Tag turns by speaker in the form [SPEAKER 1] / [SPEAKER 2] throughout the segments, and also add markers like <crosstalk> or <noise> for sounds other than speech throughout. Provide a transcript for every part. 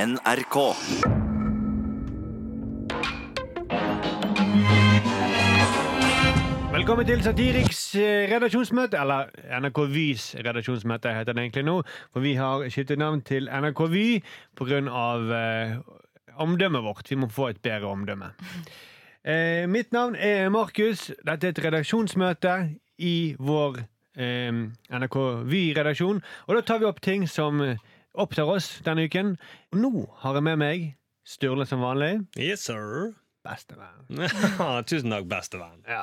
[SPEAKER 1] NRK.
[SPEAKER 2] Velkommen til Satiriks eh, redaksjonsmøte, eller NRK Vys redaksjonsmøte heter det egentlig nå. For vi har skiftet navn til NRK Vy pga. Eh, omdømmet vårt. Vi må få et bedre omdømme. Eh, mitt navn er Markus. Dette er et redaksjonsmøte i vår eh, NRK Vy-redaksjon. Og da tar vi opp ting som eh, opptar oss denne uken. Og nå har jeg med meg Sturle som vanlig.
[SPEAKER 3] Yes, sir. <laughs> Ah,
[SPEAKER 2] Bestevenn.
[SPEAKER 3] Tusen takk, beste venn.
[SPEAKER 2] Ja.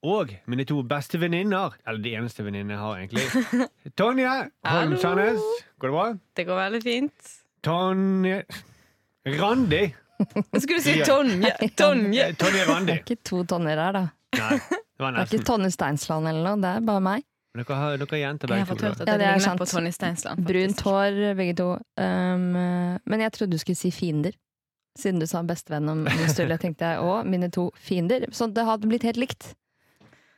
[SPEAKER 2] Og mine to beste venninner, eller de eneste venninnene jeg har,
[SPEAKER 4] <laughs>
[SPEAKER 2] egentlig. Tonje Holm
[SPEAKER 4] Hallo.
[SPEAKER 2] Sandnes. Går det bra?
[SPEAKER 4] Det går veldig fint.
[SPEAKER 2] Tonje Randi.
[SPEAKER 4] Jeg skulle si
[SPEAKER 2] Ja.
[SPEAKER 4] Tonje! Tonje!
[SPEAKER 2] Eh, Tonje Randi.
[SPEAKER 4] <laughs>
[SPEAKER 5] Det er ikke to tonner her, da.
[SPEAKER 2] Nei, det var
[SPEAKER 5] Det er
[SPEAKER 2] nesten.
[SPEAKER 5] ikke Tonje Steinsland eller noe, det er bare meg.
[SPEAKER 2] Men Dere, har, dere er jenter,
[SPEAKER 4] Jeg har
[SPEAKER 2] begge
[SPEAKER 4] fått
[SPEAKER 2] to.
[SPEAKER 4] hørt at
[SPEAKER 5] Ja,
[SPEAKER 4] det
[SPEAKER 5] det er
[SPEAKER 4] ligner
[SPEAKER 5] sant.
[SPEAKER 4] på Tonje Steinsland.
[SPEAKER 5] Brunt
[SPEAKER 4] faktisk.
[SPEAKER 5] hår, begge to. Um, eh, men jeg trodde du skulle si fiender. Siden du sa bestevenn om min stule, tenkte <laughs> jeg òg mine to fiender. Så det hadde blitt helt likt.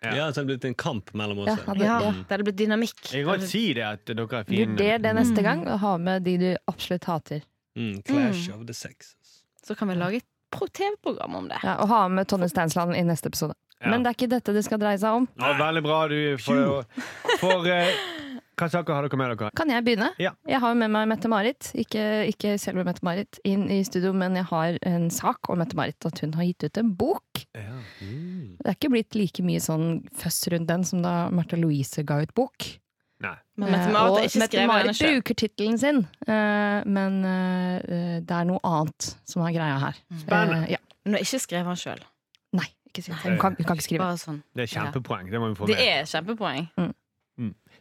[SPEAKER 2] Ja.
[SPEAKER 3] Ja, så det er blitt en kamp mellom oss.
[SPEAKER 5] Ja, hadde-
[SPEAKER 4] Ja,
[SPEAKER 5] ja.
[SPEAKER 4] det hadde blitt dynamikk.
[SPEAKER 2] Jeg kan godt si det at dere er fine. Mm.
[SPEAKER 5] Vurder det neste gang, og ha med de du absolutt hater.
[SPEAKER 3] Mm, clash
[SPEAKER 4] Mm.
[SPEAKER 3] of the sexes.
[SPEAKER 4] Så kan vi lage et pro- TV-program om det.
[SPEAKER 5] Ja, og ha med Tonje Steinsland i neste episode.
[SPEAKER 2] Ja.
[SPEAKER 5] Men det er ikke dette det skal dreie seg om.
[SPEAKER 2] Ja, veldig bra. Du får, for eh, Hva saker har dere med dere?
[SPEAKER 5] Kan jeg begynne?
[SPEAKER 2] Ja.
[SPEAKER 5] Jeg har jo med meg Mette-Marit. Ikke, ikke selve Mette-Marit inn i studio, men jeg har en sak om Mette-Marit. At hun har gitt ut en bok.
[SPEAKER 2] Ja.
[SPEAKER 3] Mm.
[SPEAKER 5] Det er ikke blitt like mye sånn føss rundt den som da Martha Louise ga ut bok.
[SPEAKER 2] Nei.
[SPEAKER 4] Men Mette
[SPEAKER 5] Eh,
[SPEAKER 4] Marit
[SPEAKER 5] og
[SPEAKER 4] er ikke skrevet av
[SPEAKER 5] Mette-Marit
[SPEAKER 4] henne selv.
[SPEAKER 5] bruker tittelen sin, eh, men eh, det er noe annet som er greia her.
[SPEAKER 4] Mm.
[SPEAKER 2] Spennende.
[SPEAKER 5] Eh, ja.
[SPEAKER 4] Hun har ikke skrevet den sjøl.
[SPEAKER 5] Nei, ikke si det. Hun kan, hun kan ikke skrive.
[SPEAKER 4] Bare sånn.
[SPEAKER 2] Det er kjempepoeng. Det må vi få
[SPEAKER 4] Det
[SPEAKER 2] med.
[SPEAKER 4] er kjempepoeng.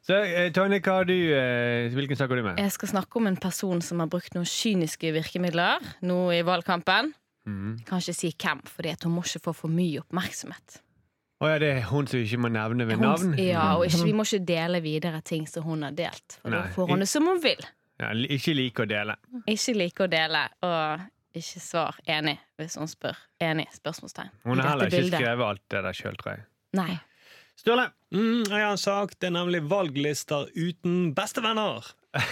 [SPEAKER 2] Så eh, Tonje, hva har du, eh, hvilken sak har du med?
[SPEAKER 4] Jeg skal snakke om en person som har brukt noen kyniske virkemidler nå i valgkampen.
[SPEAKER 2] Mm.
[SPEAKER 4] Kan ikke si hvem, fordi at hun må ikke få for mye oppmerksomhet.
[SPEAKER 2] Å ja, det er hun som ikke må nevne ved navn?
[SPEAKER 4] Hun, ja, og ikke, vi må ikke dele videre ting som hun har delt, for da
[SPEAKER 2] Nei.
[SPEAKER 4] får hun det som hun vil.
[SPEAKER 2] Mm. Ja, li- ikke like å dele.
[SPEAKER 4] Ikke like å dele og ikke svar enig hvis hun spør. Enig? spørsmålstegn.
[SPEAKER 2] Hun
[SPEAKER 4] I
[SPEAKER 2] har
[SPEAKER 4] dette
[SPEAKER 2] heller ikke
[SPEAKER 4] bildet.
[SPEAKER 2] skrevet alt det der sjøl, tror jeg.
[SPEAKER 4] Nei.
[SPEAKER 2] Sturle!
[SPEAKER 3] Mm, jeg har en sak. Det er nemlig valglister uten bestevenner.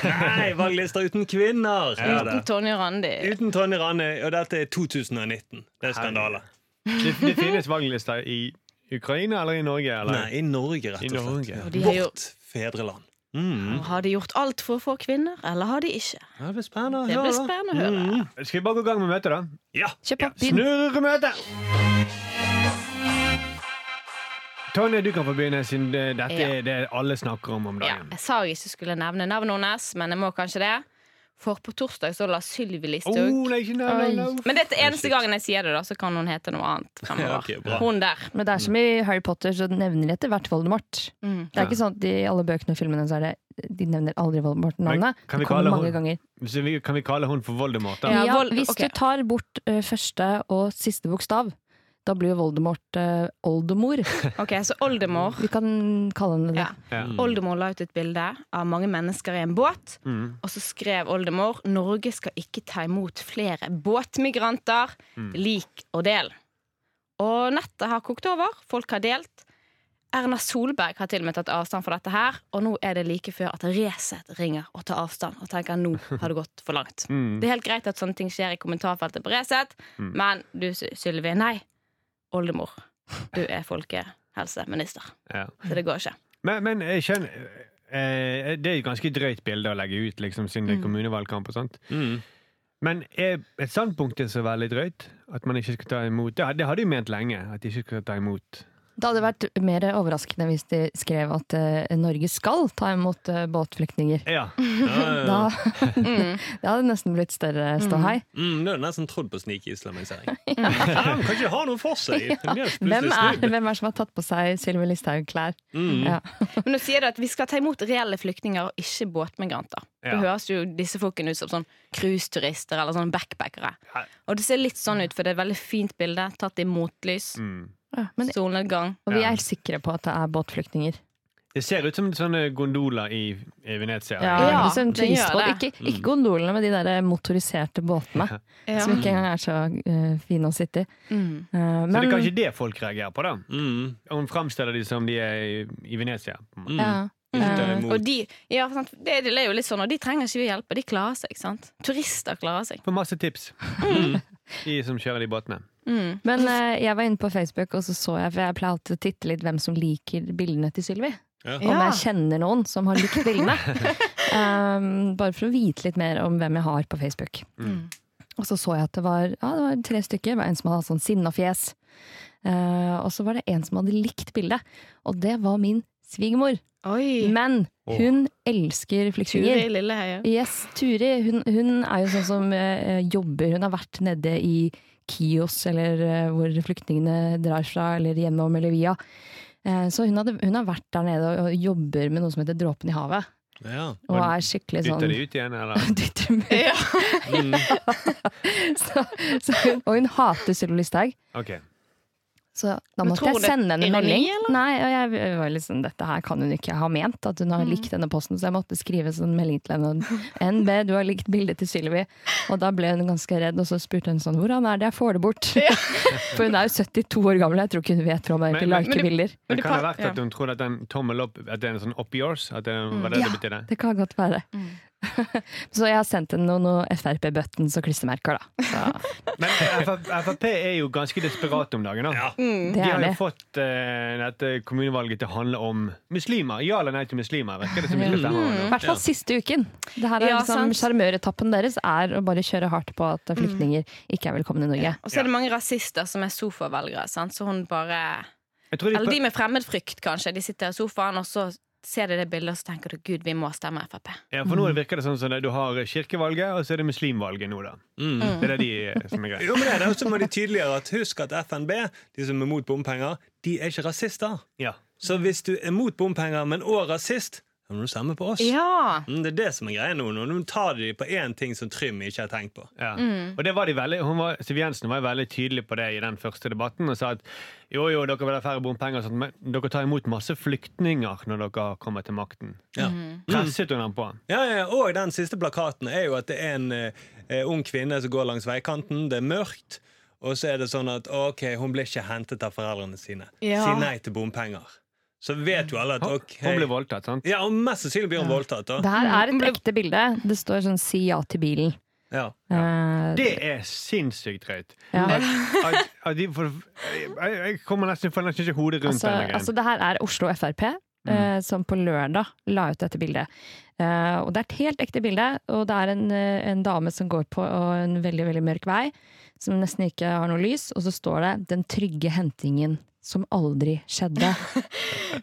[SPEAKER 3] Nei, valglister uten kvinner! Ja,
[SPEAKER 4] Uten
[SPEAKER 3] det.
[SPEAKER 4] Tonje Randi.
[SPEAKER 3] Uten Tonje Randi, og dette er 2019. Det er skandale.
[SPEAKER 2] Det, det finnes valglister i Ukraina eller i Norge? Eller?
[SPEAKER 3] Nei, i Norge, rett
[SPEAKER 2] I
[SPEAKER 3] og slett.
[SPEAKER 2] Norge.
[SPEAKER 3] Ja.
[SPEAKER 4] Og de har jo-
[SPEAKER 3] Vårt fedreland. Mm.
[SPEAKER 4] Har de gjort alt for å få kvinner, eller har de ikke?
[SPEAKER 3] Ja, det blir spennende å
[SPEAKER 4] Det
[SPEAKER 3] høre.
[SPEAKER 4] blir spennende å høre.
[SPEAKER 2] Skal vi bare gå i gang med møtet, da?
[SPEAKER 3] Mm. Ja.
[SPEAKER 5] Kjøp
[SPEAKER 3] ja.
[SPEAKER 5] opp din.
[SPEAKER 2] Snurremøte! Tonje, du kan få begynne, siden det, dette
[SPEAKER 4] Ja.
[SPEAKER 2] er det alle snakker om om
[SPEAKER 4] Ja,
[SPEAKER 2] dagen.
[SPEAKER 4] jeg sa jeg ikke skulle nevne navnet hennes, men jeg må kanskje det. For på torsdag så la Sylvi
[SPEAKER 2] Oh,
[SPEAKER 4] Listhaug
[SPEAKER 2] nei, ikke nei, nei, nei.
[SPEAKER 4] Men det er eneste gangen jeg sier det, da, så kan hun hete
[SPEAKER 3] <laughs>
[SPEAKER 4] noe annet fremover.
[SPEAKER 3] Ja, ok, bra.
[SPEAKER 4] Hun der.
[SPEAKER 5] Men det er som i Harry Potter, så nevner de etter hvert Voldemort.
[SPEAKER 4] Mm.
[SPEAKER 5] Det er ikke sånn at de, i alle bøkene og filmene så er det De nevner aldri
[SPEAKER 2] Men
[SPEAKER 5] Voldemort-navnet.
[SPEAKER 2] kan vi
[SPEAKER 5] Det kommer
[SPEAKER 2] kalle
[SPEAKER 5] mange
[SPEAKER 2] hun-
[SPEAKER 5] ganger.
[SPEAKER 2] Så vi, kan vi kalle hun for Voldemort, da?
[SPEAKER 4] Ja,
[SPEAKER 5] Ja,
[SPEAKER 4] Vold-
[SPEAKER 5] hvis
[SPEAKER 4] ok.
[SPEAKER 5] du tar bort ø, første og siste bokstav, da blir jo Voldemort ø, oldemor.
[SPEAKER 4] Ok, Så
[SPEAKER 3] <laughs>
[SPEAKER 4] oldemor.
[SPEAKER 5] Vi kan kalle
[SPEAKER 3] Mm.
[SPEAKER 5] henne det.
[SPEAKER 4] Ja. Oldemor la ut et bilde av mange mennesker i en båt.
[SPEAKER 2] Mm.
[SPEAKER 4] Og så skrev oldemor Norge skal ikke ta imot flere båtmigranter. Lik og del. Og nettet har kokt over. Folk har delt. Erna Solberg har til og med tatt avstand for dette her. Og nå er det like før at Resett ringer og tar avstand og tenker nå har det gått for langt.
[SPEAKER 2] Mm.
[SPEAKER 4] Det er helt greit at sånne ting skjer i kommentarfeltet på Resett, men du, Sy- Sylvi, nei. Oldemor, du er folkehelseminister.
[SPEAKER 2] Ja.
[SPEAKER 4] Så det går ikke.
[SPEAKER 2] Men, men jeg skjønner eh, Det er et ganske drøyt bilde å legge ut, liksom, siden
[SPEAKER 4] Mm.
[SPEAKER 2] det er kommunevalgkamp og sånt.
[SPEAKER 4] <laughs>
[SPEAKER 3] Mm.
[SPEAKER 2] Men er et standpunkt er så veldig drøyt? At man ikke skal ta imot Det, det har de ment lenge. at de ikke skal ta imot.
[SPEAKER 5] Det hadde vært mer overraskende hvis de skrev at ø, Norge skal ta imot ø, båtflyktninger.
[SPEAKER 2] Ja,
[SPEAKER 3] Ja, ja, ja.
[SPEAKER 5] Da,
[SPEAKER 3] <laughs>
[SPEAKER 5] <laughs> det hadde nesten blitt større ståhei.
[SPEAKER 3] Mm, det er nesten trodd på snikislamisering.
[SPEAKER 5] <laughs>
[SPEAKER 3] Ja. de kan ikke ha noe for seg! De er
[SPEAKER 5] Hvem
[SPEAKER 3] plutselig
[SPEAKER 5] er,
[SPEAKER 3] snudd.
[SPEAKER 5] hvem er det som har tatt på seg Sylvi Listhaug-klær?
[SPEAKER 3] Mm.
[SPEAKER 5] Ja.
[SPEAKER 4] Men nå sier du at vi skal ta imot reelle flyktninger og ikke båtmigranter. Da
[SPEAKER 2] Ja.
[SPEAKER 4] høres jo disse folkene ut som sånn cruiseturister eller sånn backpackere. Og det ser litt sånn ut, for det er et veldig fint bilde tatt i motlys.
[SPEAKER 2] Mm.
[SPEAKER 5] Ja, men,
[SPEAKER 4] Solnedgang.
[SPEAKER 5] og vi er helt sikre på at det er båtflyktninger.
[SPEAKER 2] Det ser ut som sånne gondoler i, i Venezia.
[SPEAKER 4] Ja,
[SPEAKER 5] det er som
[SPEAKER 4] det gjør
[SPEAKER 5] turistbåt.
[SPEAKER 4] det.
[SPEAKER 5] liksom, Ikke, ikke gondolene med de der motoriserte båtene.
[SPEAKER 4] Ja.
[SPEAKER 5] Som ikke engang er så ø, fine å sitte i.
[SPEAKER 4] Mm.
[SPEAKER 5] Eh,
[SPEAKER 2] Så det
[SPEAKER 5] men-
[SPEAKER 2] er kanskje det folk reagerer på, da.
[SPEAKER 3] Mm.
[SPEAKER 2] Hun framstiller de som de er i, i Venezia.
[SPEAKER 3] Mm.
[SPEAKER 5] Ja.
[SPEAKER 3] Ikke ta
[SPEAKER 5] Eh,
[SPEAKER 3] imot.
[SPEAKER 4] Og de, ja, sant? Det, det er jo litt sånn, og de trenger ikke vi hjelpe, de klarer seg. sant? Turister klarer seg.
[SPEAKER 2] Får masse tips. Mm. <laughs> De som kjører de båtene.
[SPEAKER 4] Mm.
[SPEAKER 5] Men eh, jeg var inne på Facebook, og så så jeg, for jeg pleier alltid å titte litt hvem som liker bildene til Sylvi.
[SPEAKER 3] Ja.
[SPEAKER 5] Om jeg kjenner noen som har likt bildene. um, bare for å vite litt mer om hvem jeg har på Facebook.
[SPEAKER 2] Mm.
[SPEAKER 5] Og så så jeg at det var, ja, det var tre stykker. Det var en som hadde sånn sinnafjes. Uh, og så var det en som hadde likt bildet. Og det var min svigermor.
[SPEAKER 4] Oi!
[SPEAKER 5] Men hun elsker flyktninger.
[SPEAKER 4] Turi Lilleheie.
[SPEAKER 5] Yes, Turi hun, hun er jo sånn som eh, jobber. Hun har vært nede i Kios, eller eh, hvor flyktningene drar fra, eller gjennom, eller via. Eh, så hun, hadde, hun har vært der nede og, og jobber med noe som heter Dråpen i havet.
[SPEAKER 3] Ja.
[SPEAKER 2] Og
[SPEAKER 5] Og er skikkelig sånn
[SPEAKER 2] Dytter de ut igjen, eller?
[SPEAKER 5] <laughs> Dytter med-
[SPEAKER 4] Ja.
[SPEAKER 3] Mm.
[SPEAKER 5] så, så hun, og hun hater Sylvi Listhaug.
[SPEAKER 2] Ok.
[SPEAKER 5] Så da
[SPEAKER 4] Men
[SPEAKER 5] måtte
[SPEAKER 4] tror
[SPEAKER 5] jeg
[SPEAKER 4] du det er
[SPEAKER 5] sende henne en
[SPEAKER 4] ironi,
[SPEAKER 5] melding.
[SPEAKER 4] eller?
[SPEAKER 5] Nei, og jeg var liksom, Dette her kan hun ikke ha ment, at hun har
[SPEAKER 4] Mm.
[SPEAKER 5] likt denne posten. Så jeg måtte skrive en sånn melding til henne. NB, du har likt bildet til Sylvi. Og da ble hun ganske redd, og så spurte hun sånn Hvordan er det jeg får det bort? <laughs> For hun er jo 72 år gammel, jeg tror ikke hun vet hvordan man
[SPEAKER 2] Men-
[SPEAKER 5] egentlig
[SPEAKER 2] men-
[SPEAKER 5] liker
[SPEAKER 4] men du-
[SPEAKER 5] bilder.
[SPEAKER 4] Men
[SPEAKER 2] Men
[SPEAKER 4] det
[SPEAKER 2] kan det ha
[SPEAKER 4] pa-
[SPEAKER 2] vært at hun trodde at den tommel opp At det er en sånn up yours? At det var det
[SPEAKER 5] Ja.
[SPEAKER 2] det betydde?
[SPEAKER 5] Det kan godt være.
[SPEAKER 4] Mm.
[SPEAKER 5] så jeg har sendt henne noen noe Frp-buttons og klistremerker, da. Så,
[SPEAKER 2] <laughs> Men FrP Frp er jo ganske desperate om dagen. da
[SPEAKER 3] ja.
[SPEAKER 4] Mm.
[SPEAKER 5] det
[SPEAKER 2] De
[SPEAKER 5] er
[SPEAKER 2] har
[SPEAKER 5] det.
[SPEAKER 2] jo fått eh, dette kommunevalget til å handle om muslimer. Ja eller nei til muslimer, virker det som. ikke stemmer
[SPEAKER 5] I
[SPEAKER 2] nå.
[SPEAKER 5] hvert fall siste uken. Det her er
[SPEAKER 4] Ja,
[SPEAKER 5] liksom
[SPEAKER 4] sant.
[SPEAKER 5] Sjarmøretappen deres er å bare kjøre hardt på at flyktninger ikke er velkomne i Norge.
[SPEAKER 4] Og så er det mange rasister som er sofavelgere, sant? så hun bare
[SPEAKER 2] Jeg tror de
[SPEAKER 4] Eller
[SPEAKER 2] prø-
[SPEAKER 4] de med fremmedfrykt, kanskje. De sitter i sofaen, og så ser de det bildet, og så tenker du gud, vi må stemme Frp.
[SPEAKER 2] ja, for nå virker det sånn som det- du har kirkevalget, og så er det muslimvalget nå, da.
[SPEAKER 3] Mm.
[SPEAKER 2] Det er det de eh, som er greit.
[SPEAKER 3] <laughs> Jo, men det er det, og så må de tydeliggjøre at husk at FNB, de som er mot bompenger, de er ikke rasister.
[SPEAKER 2] Ja.
[SPEAKER 3] Så hvis du er mot bompenger, men òg rasist, da må du stemme på oss.
[SPEAKER 4] Ja!
[SPEAKER 3] Mm, Det er det som er greia nå. Nå tar de på én ting som Trym ikke har tenkt på.
[SPEAKER 2] Ja. Og det var de veldig, hun var, Siv Jensen var jo veldig tydelig på det i den første debatten og sa at jo, jo, dere vil ha færre bompenger, og sånt, men dere tar imot masse flyktninger når dere kommer til makten.
[SPEAKER 3] Ja.
[SPEAKER 5] Mm.
[SPEAKER 2] Presset hun ham på.
[SPEAKER 3] Ja, ja, ja, Og den siste plakaten er jo at det er en eh, eh, ung kvinne som går langs veikanten. Det er mørkt. Og så er det sånn at ok, hun ble ikke hentet av foreldrene sine.
[SPEAKER 4] Ja.
[SPEAKER 3] Si nei til bompenger. Så vet jo alle at
[SPEAKER 2] Hun,
[SPEAKER 3] ok
[SPEAKER 2] hun ble voldtatt, sant?
[SPEAKER 3] Ja, og Mest sannsynlig blir hun voldtatt. da
[SPEAKER 5] <laughs> Det her er et ekte bilde. Det står sånn 'si ja til bilen'.
[SPEAKER 3] ja.
[SPEAKER 5] Eh,
[SPEAKER 2] Det er sinnssykt drøyt.
[SPEAKER 5] Ja.
[SPEAKER 2] At, at, at de får, jeg, jeg kommer nesten, får nesten ikke hodet rundt
[SPEAKER 5] altså,
[SPEAKER 2] den lenger.
[SPEAKER 5] altså, det her er Oslo Frp,
[SPEAKER 2] Mm.
[SPEAKER 5] eh, som på lørdag la ut dette bildet. Eh, og det er et helt ekte bilde, og det er en, eh, en dame som går på og en veldig veldig mørk vei, som nesten ikke har noe lys, og så står det 'Den trygge hentingen som aldri
[SPEAKER 4] <laughs>
[SPEAKER 5] skjedde'.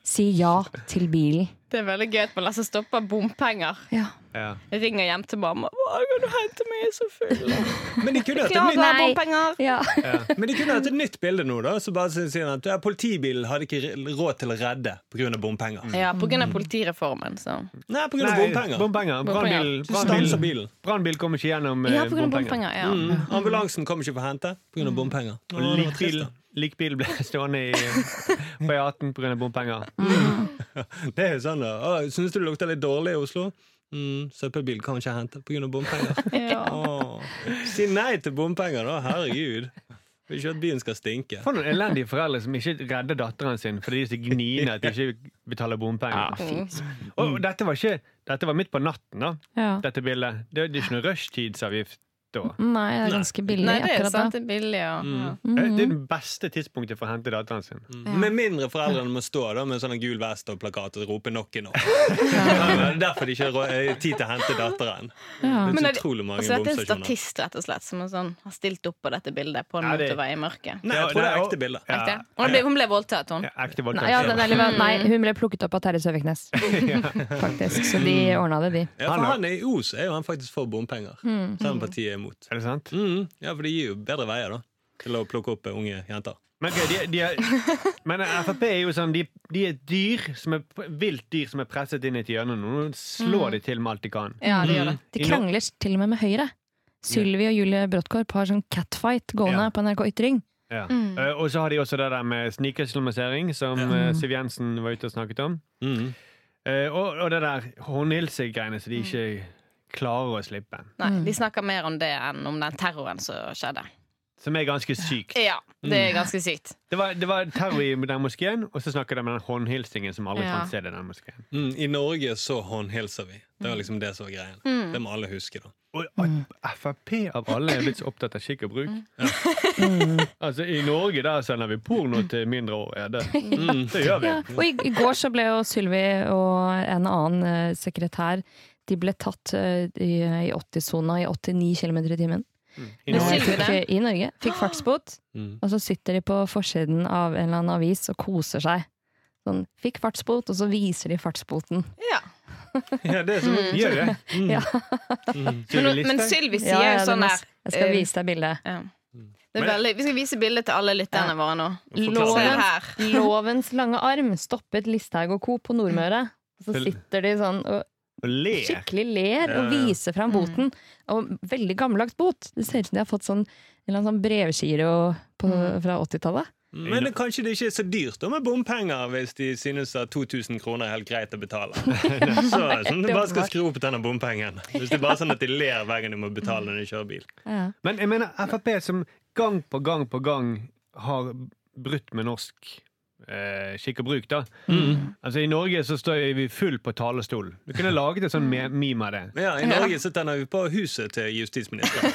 [SPEAKER 5] si ja til bilen.
[SPEAKER 4] Det er veldig gøy at man lar seg stoppe av bompenger.
[SPEAKER 5] Ja.
[SPEAKER 2] ja.
[SPEAKER 4] Ringer hjem til mamma. 'Hva kan du hente meg? Jeg er så full.'
[SPEAKER 3] Men <laughs> de kunne hatt et
[SPEAKER 4] Beklager,
[SPEAKER 5] Nei.
[SPEAKER 4] bompenger!
[SPEAKER 2] <laughs>
[SPEAKER 5] ja.
[SPEAKER 3] nytt, men de kunne hatt et nytt bilde nå, da. Så bare sier han at ja, politibilen hadde ikke råd til å redde pga. bompenger.
[SPEAKER 4] Ja, på grunn av politireformen, så.
[SPEAKER 3] Nei, pga.
[SPEAKER 2] Nei,
[SPEAKER 3] bompenger.
[SPEAKER 2] bompenger. Brannbil-
[SPEAKER 3] Så stanser
[SPEAKER 2] brannbil-
[SPEAKER 3] bilen.
[SPEAKER 2] Brannbil kom ikke gjennom eh,
[SPEAKER 4] Ja, på grunn av
[SPEAKER 2] bompenger.
[SPEAKER 4] bompenger. Ja.
[SPEAKER 3] Mm. Ambulansen kom ikke for å hente pga. bompenger. Å,
[SPEAKER 2] Og
[SPEAKER 3] det var trist,
[SPEAKER 2] likbil, likbil ble <laughs> stående i, på E18 pga. bompenger.
[SPEAKER 3] da. <laughs> Det er jo sånn, da. Å, Syns du det lukter litt dårlig i Oslo? Mm, søppelbil kan ikke hente pga.
[SPEAKER 4] <laughs>
[SPEAKER 3] bompenger.
[SPEAKER 4] Ja.
[SPEAKER 3] Å, Si nei til bompenger, da. Herregud. Vil ikke at byen skal stinke.
[SPEAKER 2] For noen elendige foreldre som ikke redder datteren sin fordi de er så gniende at de ikke betaler bompenger. Og dette var, ikke, dette var midt på natten, da.
[SPEAKER 5] ja.
[SPEAKER 2] Dette bildet. Det er ikke noe rushtidsavgift da.
[SPEAKER 5] Nei, det er ganske billig
[SPEAKER 4] Nei, det er
[SPEAKER 5] akkurat da.
[SPEAKER 4] sant. Det er billig, ja. ja.
[SPEAKER 2] Det er det beste tidspunktet for å hente datteren sin.
[SPEAKER 3] Mm. Med mindre foreldrene må stå da med sånn gul vest og plakat og rope 'knock knock'. Ja, men Derfor de ikke har råd- eh, tid til å hente datteren. Det
[SPEAKER 5] Ja.
[SPEAKER 4] Men
[SPEAKER 3] er
[SPEAKER 4] er
[SPEAKER 3] så
[SPEAKER 4] det-
[SPEAKER 3] utrolig mange
[SPEAKER 4] Og så er Altså, dette en
[SPEAKER 3] bomstasjoner.
[SPEAKER 4] statist rett og slett som er sånn, har stilt opp på dette bildet på en
[SPEAKER 2] Ja, det-
[SPEAKER 4] motorvei i mørket.
[SPEAKER 3] Nei, jeg tror det er ekte bilder.
[SPEAKER 2] Ja.
[SPEAKER 4] Riktig? Hun ble, hun ble voldtatt, hun.
[SPEAKER 2] Ja, Ekte
[SPEAKER 5] Nei, ja,
[SPEAKER 2] voldtektsskjema.
[SPEAKER 5] den er livet-
[SPEAKER 4] Mm.
[SPEAKER 5] nei, hun ble plukket opp av Terje Søviknes,
[SPEAKER 2] <laughs>
[SPEAKER 5] faktisk. Så de
[SPEAKER 4] Mm.
[SPEAKER 5] ordna det, de.
[SPEAKER 3] Ja, for
[SPEAKER 2] Han er-
[SPEAKER 3] han er i Os er jo han faktisk for bompenger, selv om partiet er imot.
[SPEAKER 2] Er det sant?
[SPEAKER 3] Mm, ja, for det gir jo bedre veier da til å plukke opp eh, unge jenter.
[SPEAKER 2] Men, ok, de, de er,
[SPEAKER 5] <laughs>
[SPEAKER 2] men Frp er jo sånn De, de er et dyr som er vilt dyr som er presset inn i et hjørne. Nå
[SPEAKER 5] Mm.
[SPEAKER 2] slår de til med alt de kan.
[SPEAKER 4] Ja, det gjør det.
[SPEAKER 5] De
[SPEAKER 2] Mm. I no-
[SPEAKER 5] krangler til og med med Høyre. Sylvi og Julie Bråttkorp har sånn catfight gående
[SPEAKER 2] Ja.
[SPEAKER 5] på NRK Ytring.
[SPEAKER 2] Ja.
[SPEAKER 5] Mm.
[SPEAKER 2] Eh, Og så har de også det der med snikislamisering, som eh, Siv Jensen var ute og snakket om.
[SPEAKER 3] Mm.
[SPEAKER 2] Eh, og, og det der håndhilsegreiene som de ikke klarer å slippe.
[SPEAKER 4] Mm. Nei, de snakker mer om det enn om den terroren som skjedde.
[SPEAKER 2] Som er ganske sykt.
[SPEAKER 4] Ja, det er ganske sykt.
[SPEAKER 2] Det var, det var terror i den moskeen, og så snakker de om den håndhilsingen som aldri
[SPEAKER 4] Ja.
[SPEAKER 2] fant sted i den moskeen.
[SPEAKER 3] Mm, I Norge så håndhilser vi. Det var liksom det som var greien. Det må alle huske, da.
[SPEAKER 2] Og
[SPEAKER 4] Mm.
[SPEAKER 2] at Frp av alle er blitt så opptatt av skikk og bruk.
[SPEAKER 4] Mm.
[SPEAKER 2] <laughs> Altså, I Norge der sender vi porno til mindreårige. Det,
[SPEAKER 3] Mm.
[SPEAKER 2] det gjør vi.
[SPEAKER 5] Ja, og i, i går så ble jo Sylvi og en annen eh, sekretær De ble tatt eh, i, i 80-sona i 89 km i timen.
[SPEAKER 2] Mm. I
[SPEAKER 4] Men
[SPEAKER 5] Eh,
[SPEAKER 2] Norge.
[SPEAKER 4] Sylvi det?
[SPEAKER 5] fikk- I Norge.
[SPEAKER 4] <gasps>
[SPEAKER 5] Fikk fartsbot,
[SPEAKER 3] Mm.
[SPEAKER 5] og så sitter de på forsiden av en eller annen avis og koser seg. Sånn, fikk fartsbot, og så viser de fartsboten.
[SPEAKER 4] Ja.
[SPEAKER 3] Ja, det er som,
[SPEAKER 2] Gjør det. Mm.
[SPEAKER 5] Ja.
[SPEAKER 2] Sylvi
[SPEAKER 4] Mm. Men, men
[SPEAKER 2] Listhaug.
[SPEAKER 4] Sylvi sier
[SPEAKER 5] Ja, ja,
[SPEAKER 4] jo
[SPEAKER 5] det
[SPEAKER 4] sånn
[SPEAKER 5] må-
[SPEAKER 4] her
[SPEAKER 5] Jeg skal
[SPEAKER 4] eh,
[SPEAKER 5] vise deg bildet.
[SPEAKER 4] ja. det er
[SPEAKER 3] Men-
[SPEAKER 4] veldig, Vi skal vise bildet til alle lytterne våre nå.
[SPEAKER 3] Forklar
[SPEAKER 4] Se
[SPEAKER 3] det.
[SPEAKER 4] her.
[SPEAKER 5] <laughs> Lovens lange arm stoppet Listhaug og co. på Nordmøre. Og så
[SPEAKER 2] Vel-
[SPEAKER 5] sitter de sånn og
[SPEAKER 2] Og le.
[SPEAKER 5] skikkelig ler og
[SPEAKER 3] Ja, ja.
[SPEAKER 5] viser
[SPEAKER 4] Mm.
[SPEAKER 5] fram boten. Og veldig gammeldags bot. Det ser ut som de har fått sånn, en eller annen sånn brevgiro på,
[SPEAKER 4] Mm.
[SPEAKER 5] fra 80-tallet.
[SPEAKER 3] Men det, kanskje det ikke er så dyrt da med bompenger hvis de synes at 2000 kroner er helt greit å <laughs> betale. Så sånn, at du bare skal skru opp denne bompengen. Hvis det er bare sånn at de ler hver gang de må betale når de kjører bil.
[SPEAKER 5] Ja.
[SPEAKER 2] Men jeg mener Frp som gang på gang på gang har brutt med norsk eh, skikk og bruk, da.
[SPEAKER 4] Mm.
[SPEAKER 2] Altså I Norge så står vi full på talerstolen. Du kunne laget en sånn me-
[SPEAKER 4] Mm.
[SPEAKER 2] meme av det.
[SPEAKER 3] Men ja, I Norge så tenner vi på huset til justisministeren.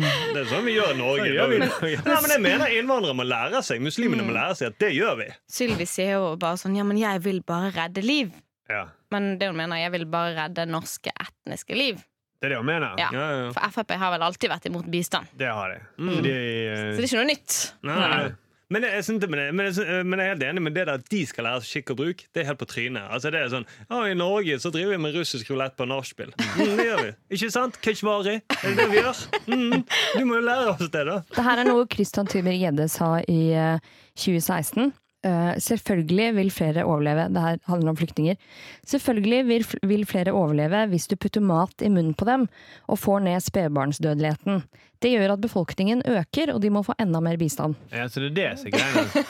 [SPEAKER 3] Det er sånn vi gjør i Norge.
[SPEAKER 2] Det gjør vi i
[SPEAKER 3] Men, Nei, men jeg mener innvandrere må lære seg, muslimene må lære seg at det gjør vi.
[SPEAKER 4] Sylvi sier jo bare sånn Ja, men jeg vil bare redde liv.
[SPEAKER 2] Ja.
[SPEAKER 4] Men det hun mener, jeg vil bare redde norske etniske liv.
[SPEAKER 2] Det er det hun mener.
[SPEAKER 4] Ja.
[SPEAKER 3] Ja, ja.
[SPEAKER 4] For Frp har vel alltid vært imot bistand.
[SPEAKER 2] Det har de. Så de
[SPEAKER 4] Mm. Så
[SPEAKER 2] eh,
[SPEAKER 4] det er ikke noe nytt.
[SPEAKER 3] Nei, nei. nei. Men jeg, synes, det- men, jeg, men, jeg, synes- men jeg er helt enig med det der at de skal lære seg skikk og bruk. Det er helt på trynet. Altså, det er sånn, «Å, I Norge så driver vi med russisk rulett på nachspiel. Mm, det gjør vi. <laughs> Ikke sant? Keshvari. Er <laughs> det det vi gjør? Mm, du må jo lære oss det, da.
[SPEAKER 5] Det her er noe Christian Tybring-Gjedde sa i eh, 2016. Eh, selvfølgelig vil flere overleve. Det her handler om flyktninger. Selvfølgelig vil, fl- vil flere overleve hvis du putter mat i munnen på dem og får ned spedbarnsdødeligheten. Det gjør at befolkningen øker, og de må få enda mer bistand.
[SPEAKER 2] ja, så det er det som er greia.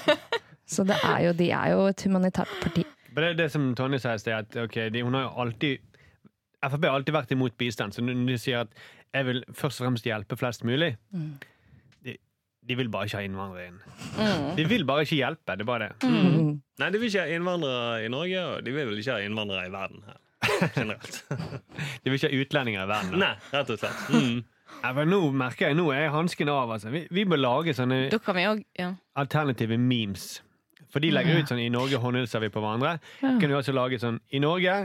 [SPEAKER 5] Så det er jo, de er jo et humanitært parti.
[SPEAKER 2] Men Det er det som Tonje sa i sted, at ok, de, hun har jo alltid Frp har alltid vært imot bistand, så når de sier at jeg vil først og fremst hjelpe flest mulig
[SPEAKER 5] Mm.
[SPEAKER 2] de, de vil bare ikke ha innvandrere inn.
[SPEAKER 5] Mm.
[SPEAKER 2] De vil bare ikke hjelpe. Det er bare det.
[SPEAKER 4] Mm.
[SPEAKER 3] Nei, de vil ikke ha innvandrere i Norge, og de vil vel ikke ha innvandrere i verden her. Generelt.
[SPEAKER 2] De vil ikke ha utlendinger i verden. da.
[SPEAKER 3] <laughs> Nei, rett og slett. Mm.
[SPEAKER 2] Ja, for nå merker jeg, nå er hansken av. Altså. Vi, vi bør lage sånne
[SPEAKER 4] Da kan vi òg ja.
[SPEAKER 2] alternative memes. For de legger ut sånn I Norge håndhilser vi på hverandre.
[SPEAKER 5] Ja.
[SPEAKER 2] Kan vi også lage sånn I Norge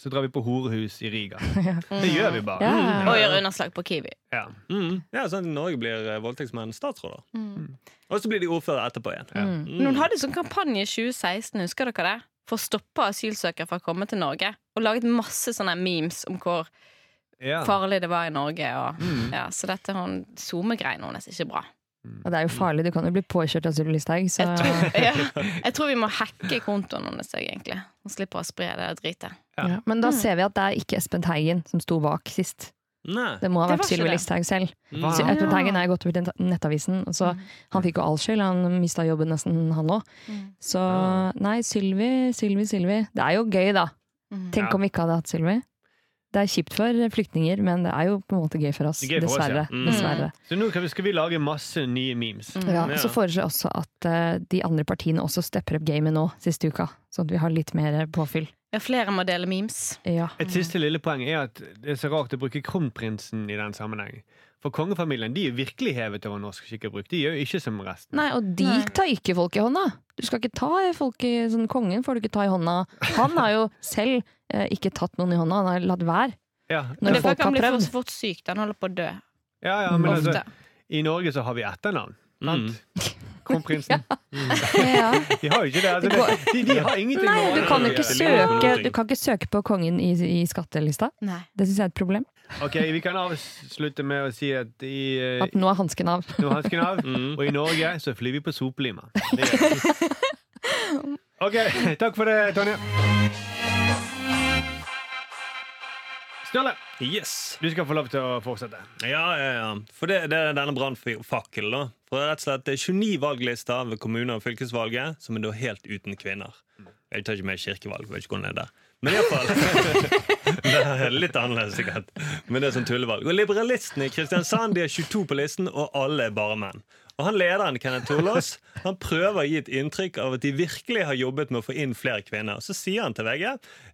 [SPEAKER 2] så drar vi på horehus i
[SPEAKER 5] <laughs>
[SPEAKER 2] Riga. Det gjør vi bare.
[SPEAKER 5] Ja.
[SPEAKER 4] Og gjøre underslag på Kiwi.
[SPEAKER 2] Ja.
[SPEAKER 3] Mm. Ja, sånn at i Norge blir eh, voldtektsmenn statsråder.
[SPEAKER 5] Mm.
[SPEAKER 3] Og så blir de ordførere etterpå igjen.
[SPEAKER 4] Men hun hadde sånn kampanje i 2016, husker dere det? For å stoppe asylsøkere fra å komme til Norge. Og laget masse sånne memes om hvor
[SPEAKER 2] Ja. Mm.
[SPEAKER 4] farlig det var i Norge. Og, ja, så dette hun SoMe-greiene hennes er ikke bra.
[SPEAKER 5] Og det er jo farlig, du kan jo bli påkjørt av Sylvi Listhaug, så
[SPEAKER 4] Jeg tror,
[SPEAKER 2] <laughs>
[SPEAKER 4] ja, jeg tror vi må hacke kontoen hennes, jeg, egentlig. Hun slipper å spre det dritet.
[SPEAKER 5] ja. Men da ser vi at det er ikke Espen Teigen som sto bak sist.
[SPEAKER 3] Mm. Nei.
[SPEAKER 5] Det må ha
[SPEAKER 4] Det var
[SPEAKER 5] vært
[SPEAKER 4] ikke
[SPEAKER 5] Sylvi
[SPEAKER 4] det.
[SPEAKER 5] Listhaug selv.
[SPEAKER 2] Hva?
[SPEAKER 5] Så
[SPEAKER 4] Ja.
[SPEAKER 5] Espen Teigen
[SPEAKER 2] Ah.
[SPEAKER 5] er gått over til Nettavisen, og
[SPEAKER 2] Mm.
[SPEAKER 5] så han fikk jo all skyld. Han mista jobben nesten, han òg. Så nei, Sylvi, Sylvi, Sylvi. Det er jo gøy, da.
[SPEAKER 2] Ja.
[SPEAKER 4] Mm.
[SPEAKER 5] Tenk om vi ikke hadde hatt Sylvi. Det er kjipt for flyktninger, men det er jo på en måte gøy for oss.
[SPEAKER 2] Det er gøy for oss, ja.
[SPEAKER 5] Dessverre.
[SPEAKER 3] Mm.
[SPEAKER 5] Dessverre.
[SPEAKER 2] Så nå kan vi, skal vi lage masse nye memes.
[SPEAKER 4] Mm.
[SPEAKER 5] Ja, og
[SPEAKER 3] Ja.
[SPEAKER 5] så foreslår jeg også at eh, de andre partiene også stepper opp gamet nå, siste uka. Sånn at vi har litt mer påfyll.
[SPEAKER 4] Ja, flere må dele memes.
[SPEAKER 5] Ja.
[SPEAKER 2] Et siste lille poeng er at det er så rart å bruke kronprinsen i den sammenheng. For kongefamilien de er jo virkelig hevet over norsk skikk og bruk. De gjør jo ikke som resten.
[SPEAKER 5] Nei, og de tar ikke folk i hånda! Du skal ikke ta folk i sånn, Kongen får du ikke ta i hånda. Han har jo selv eh, ikke tatt noen i hånda, han har latt være.
[SPEAKER 2] Ja,
[SPEAKER 5] Når
[SPEAKER 4] Men det
[SPEAKER 5] folk
[SPEAKER 4] kan
[SPEAKER 5] har
[SPEAKER 4] bli for,
[SPEAKER 5] prøvd.
[SPEAKER 4] så fort syk. Den holder på å dø.
[SPEAKER 2] ja, ja men altså,
[SPEAKER 4] Ofte.
[SPEAKER 2] I Norge så har vi etternavn.
[SPEAKER 3] Mm.
[SPEAKER 2] Sant?
[SPEAKER 5] <laughs>
[SPEAKER 2] Kronprinsen.
[SPEAKER 5] Ja.
[SPEAKER 2] De har jo ikke det. Altså,
[SPEAKER 5] Det
[SPEAKER 2] det de, de har ingenting
[SPEAKER 5] Nei,
[SPEAKER 2] med
[SPEAKER 5] du kan jo
[SPEAKER 2] hverandre å
[SPEAKER 5] ikke
[SPEAKER 2] gjøre.
[SPEAKER 5] søke, du kan ikke søke på kongen i, i skattelista.
[SPEAKER 4] Nei.
[SPEAKER 5] Det syns jeg er et problem.
[SPEAKER 2] Ok, Vi kan avslutte med å si at i eh,
[SPEAKER 5] At nå er hansken av.
[SPEAKER 2] Nordhansken av, og i Norge så flyr vi på sopelima. Det gjør vi. Ok, takk for det, Tonje. Sturle,
[SPEAKER 3] Yes.
[SPEAKER 2] du skal få lov til å fortsette.
[SPEAKER 3] Ja, ja, ja. For det, det er denne brannfakkelen, da. For det er rett og slett det er 29 valglister ved kommune- og fylkesvalget som er da helt uten kvinner. Jeg tar ikke med kirkevalg, jeg vet ikke hvordan det er der. Men iallfall <laughs> Litt annerledes, sikkert. Men det er sånn tullevalg. Og liberalistene i Kristiansand de er 22 på listen, og alle er bare menn. Og han lederen, Kenneth Torlås, han prøver å gi et inntrykk av at de virkelig har jobbet med å få inn flere kvinner. Så sier han til VG ja,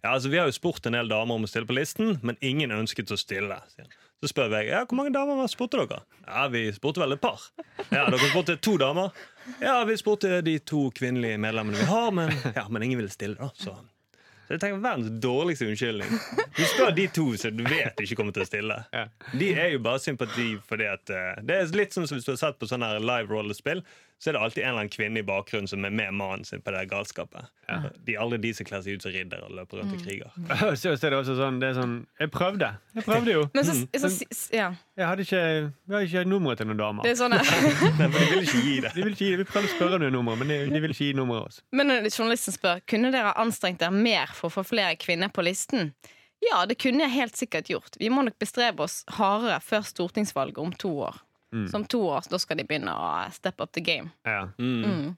[SPEAKER 3] altså vi har jo spurt en del damer om å stille på listen, men ingen ønsket å stille. sier han. Så spør VG ja, hvor mange damer var- spurte dere. Ja, vi spurte vel et par. Ja, dere spurte to damer. Ja, vi spurte de to kvinnelige medlemmene vi har, men, ja, men ingen ville stille, da. så... Så jeg tenker Verdens dårligste unnskyldning. Du spør de to som du vet ikke kommer til å stille.
[SPEAKER 2] Ja.
[SPEAKER 3] De er jo bare sympati fordi at eh, Det er litt som hvis du har sett på sånne her live rollespill, så er det alltid en eller annen kvinne i bakgrunnen som er med mannen sin på det her galskapet. De er aldri de som kler seg ut som ridder og løper
[SPEAKER 5] Mm.
[SPEAKER 3] rundt og kriger. <laughs>
[SPEAKER 2] Så, <laughs> så er det også sånn, det er sånn Jeg prøvde. Jeg prøvde jo.
[SPEAKER 4] Men så, så, s- ja,
[SPEAKER 2] Jeg hadde ikke, jeg hadde ikke nummeret til noen damer.
[SPEAKER 4] det er sånn
[SPEAKER 2] <laughs>
[SPEAKER 4] at-
[SPEAKER 3] Nei, for de vil ikke gi det.
[SPEAKER 2] De vil ikke, gi- vi prøvde å spørre om det nummeret, men de, de vil ikke gi nummeret oss.
[SPEAKER 4] Men når journalisten spør Kunne dere ha anstrengt dere mer for å få flere kvinner på listen. Ja, det kunne jeg helt sikkert gjort. Vi må nok bestrebe oss hardere før stortingsvalget om to år.
[SPEAKER 2] Mm.
[SPEAKER 4] Så om to år da skal de begynne å step up the game.
[SPEAKER 2] Ja.
[SPEAKER 5] Mm.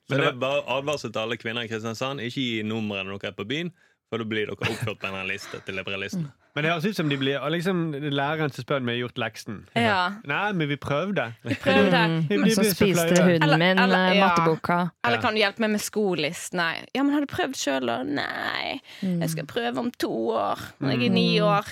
[SPEAKER 3] Så det er bare advarsel til alle kvinner i Kristiansand. Ikke gi nummeret når dere er på byen, for da blir dere oppført på en eller annen liste til liberalistene.
[SPEAKER 2] Men det høres ut som de blir liksom, det er læreren som spør om vi har gjort leksen.
[SPEAKER 4] Ja,
[SPEAKER 2] Nei, men vi prøvde.
[SPEAKER 4] prøv det.
[SPEAKER 5] Mm.
[SPEAKER 2] Vi
[SPEAKER 5] Men
[SPEAKER 2] blir
[SPEAKER 5] så
[SPEAKER 2] så
[SPEAKER 5] spiste
[SPEAKER 2] flaue.
[SPEAKER 5] hunden min
[SPEAKER 4] Eller- eller-
[SPEAKER 5] eh,
[SPEAKER 4] ja.
[SPEAKER 5] matteboka.
[SPEAKER 4] Eller
[SPEAKER 2] Ja.
[SPEAKER 4] kan du hjelpe meg med skolist? Nei. Ja, men har du prøvd sjøl, da? Nei. Jeg skal prøve om to år. Når
[SPEAKER 2] Mm.
[SPEAKER 4] jeg er ni år.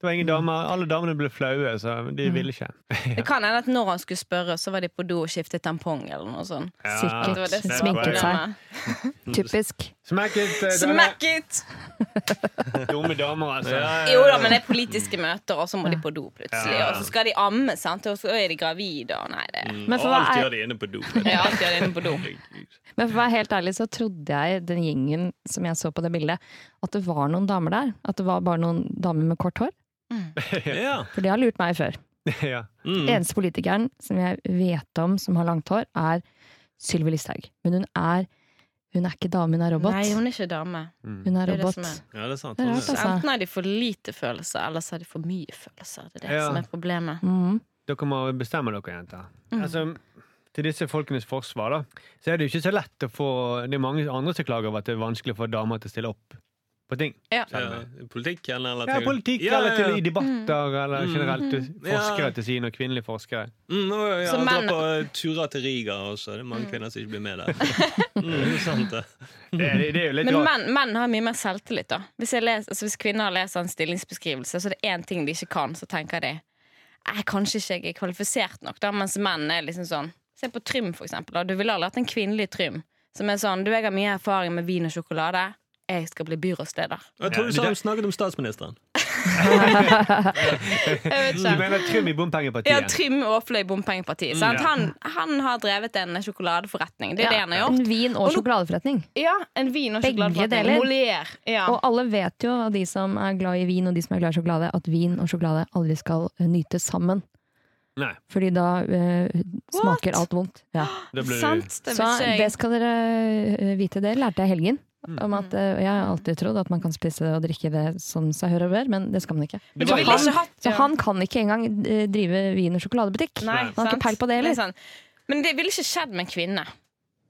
[SPEAKER 2] Det var ingen
[SPEAKER 3] Mm.
[SPEAKER 2] damer. Alle damene ble flaue, så de ville ikke.
[SPEAKER 4] Det kan hende at når han skulle spørre, så var de på do og skiftet tampong eller noe sånt.
[SPEAKER 2] Ja.
[SPEAKER 5] Sikkert.
[SPEAKER 4] Det var det som var
[SPEAKER 2] Sminket
[SPEAKER 5] seg.
[SPEAKER 4] problemet.
[SPEAKER 5] Typisk.
[SPEAKER 2] Smack it! eh,
[SPEAKER 4] Smack it!
[SPEAKER 2] denne Dumme damer, altså.
[SPEAKER 4] Jo da, men det er politiske møter, og så må de på do plutselig.
[SPEAKER 3] Ja.
[SPEAKER 4] Og så skal de amme, sant? og så er de gravide, og nei, det
[SPEAKER 5] Mm. Men for
[SPEAKER 3] og
[SPEAKER 5] hva
[SPEAKER 3] alt gjør
[SPEAKER 5] er-
[SPEAKER 3] de inne på do.
[SPEAKER 4] Jeg har alltid vært inne på do.
[SPEAKER 5] Men for å være helt ærlig så trodde jeg den gjengen som jeg så på det bildet, at det var noen damer der. At det var bare noen damer med kort hår.
[SPEAKER 3] Ja.
[SPEAKER 5] For det har lurt meg før.
[SPEAKER 2] ja.
[SPEAKER 3] Mm.
[SPEAKER 5] Eneste politikeren som jeg vet om som har langt hår, er Sylvi Listhaug. Men hun er, hun er ikke dame, hun er robot.
[SPEAKER 4] Nei, hun er ikke dame.
[SPEAKER 3] Mm.
[SPEAKER 5] Hun er
[SPEAKER 4] Det er det
[SPEAKER 5] robot.
[SPEAKER 4] som er.
[SPEAKER 3] Ja, det er sant.
[SPEAKER 5] Det er
[SPEAKER 3] Hun
[SPEAKER 5] rart,
[SPEAKER 4] Så
[SPEAKER 5] altså.
[SPEAKER 4] enten har de for lite følelser, eller så har de for mye følelser. Det er det
[SPEAKER 2] Ja.
[SPEAKER 4] som er problemet.
[SPEAKER 5] Mm.
[SPEAKER 2] Dere må bestemme dere, jenter.
[SPEAKER 4] Mm.
[SPEAKER 2] Altså, til disse folkenes forsvar, da, så er det jo ikke så lett å få Det er mange andre som klager over at det er vanskelig å få damer til å stille opp på ting.
[SPEAKER 4] Ja.
[SPEAKER 3] Ja, eh, politikk eller eller
[SPEAKER 2] Ja,
[SPEAKER 3] til-
[SPEAKER 2] politikk
[SPEAKER 3] Ja,
[SPEAKER 2] eller
[SPEAKER 3] ja, ja.
[SPEAKER 2] til i debatter, eller
[SPEAKER 3] Mm.
[SPEAKER 2] generelt til
[SPEAKER 3] Ja.
[SPEAKER 2] forskere til sine, og kvinnelige forskere.
[SPEAKER 3] Mm, og, ja, dra
[SPEAKER 4] Så menn-
[SPEAKER 3] på eh, turer til Riga også. Det er mange kvinner som ikke blir med
[SPEAKER 4] <laughs>
[SPEAKER 3] der. Mm, sant det.
[SPEAKER 2] Det, er- det er jo litt
[SPEAKER 4] Men
[SPEAKER 2] rart.
[SPEAKER 4] menn, menn har mye mer selvtillit. da hvis, jeg les, altså hvis kvinner leser en stillingsbeskrivelse, så er det én ting de ikke kan, så tenker de «Nei, kanskje ikke jeg er kvalifisert nok. da Mens menn er liksom sånn Se på Trym, for eksempel. Da. Du ville aldri hatt en kvinnelig Trym som er sånn Du, jeg har mye erfaring med vin og sjokolade. Jeg skal
[SPEAKER 2] <laughs>
[SPEAKER 4] bli
[SPEAKER 3] Jeg
[SPEAKER 4] byrådsleder.
[SPEAKER 3] tror
[SPEAKER 2] Ja,
[SPEAKER 3] du
[SPEAKER 2] det
[SPEAKER 3] sa
[SPEAKER 2] der-
[SPEAKER 3] hun snakket om statsministeren.
[SPEAKER 4] Jeg
[SPEAKER 2] Du
[SPEAKER 4] vet ikke.
[SPEAKER 2] mener Trym i
[SPEAKER 4] Ja,
[SPEAKER 2] Bompengepartiet?
[SPEAKER 4] Trym Aafløy Bompengepartiet. sant?
[SPEAKER 2] Ja.
[SPEAKER 4] Han, han har drevet en sjokoladeforretning. Det er det han har
[SPEAKER 5] En
[SPEAKER 4] gjort.
[SPEAKER 5] vin- og
[SPEAKER 4] Og nå-
[SPEAKER 5] sjokoladeforretning.
[SPEAKER 4] Ja, En vin- og
[SPEAKER 5] Begge
[SPEAKER 4] sjokoladeforretning.
[SPEAKER 5] deler.
[SPEAKER 4] Molière. Ja.
[SPEAKER 5] Og alle vet jo, de som er glad i vin og de som er glad i sjokolade, at vin og sjokolade aldri skal eh, nytes sammen.
[SPEAKER 2] Nei.
[SPEAKER 5] Fordi da eh,
[SPEAKER 4] What?
[SPEAKER 5] smaker alt vondt. Ja.
[SPEAKER 2] Da blir det
[SPEAKER 4] Sant? <gasps> Det
[SPEAKER 5] Så
[SPEAKER 4] visste jeg.
[SPEAKER 5] det skal dere eh, vite, det lærte jeg i helgen. Om at, eh, jeg har alltid trodd at man kan spise det og drikke det som seg hør og bør, men det skal man ikke.
[SPEAKER 4] Men
[SPEAKER 2] Det
[SPEAKER 4] du
[SPEAKER 2] var
[SPEAKER 4] ville
[SPEAKER 2] han-
[SPEAKER 4] ikke hatt
[SPEAKER 5] Så han kan ikke engang eh, drive vin- og sjokoladebutikk.
[SPEAKER 4] Nei,
[SPEAKER 5] han har
[SPEAKER 4] sant?
[SPEAKER 5] ikke peil på det
[SPEAKER 4] er
[SPEAKER 5] heller.
[SPEAKER 4] sant. Men det ville ikke skjedd med en kvinne.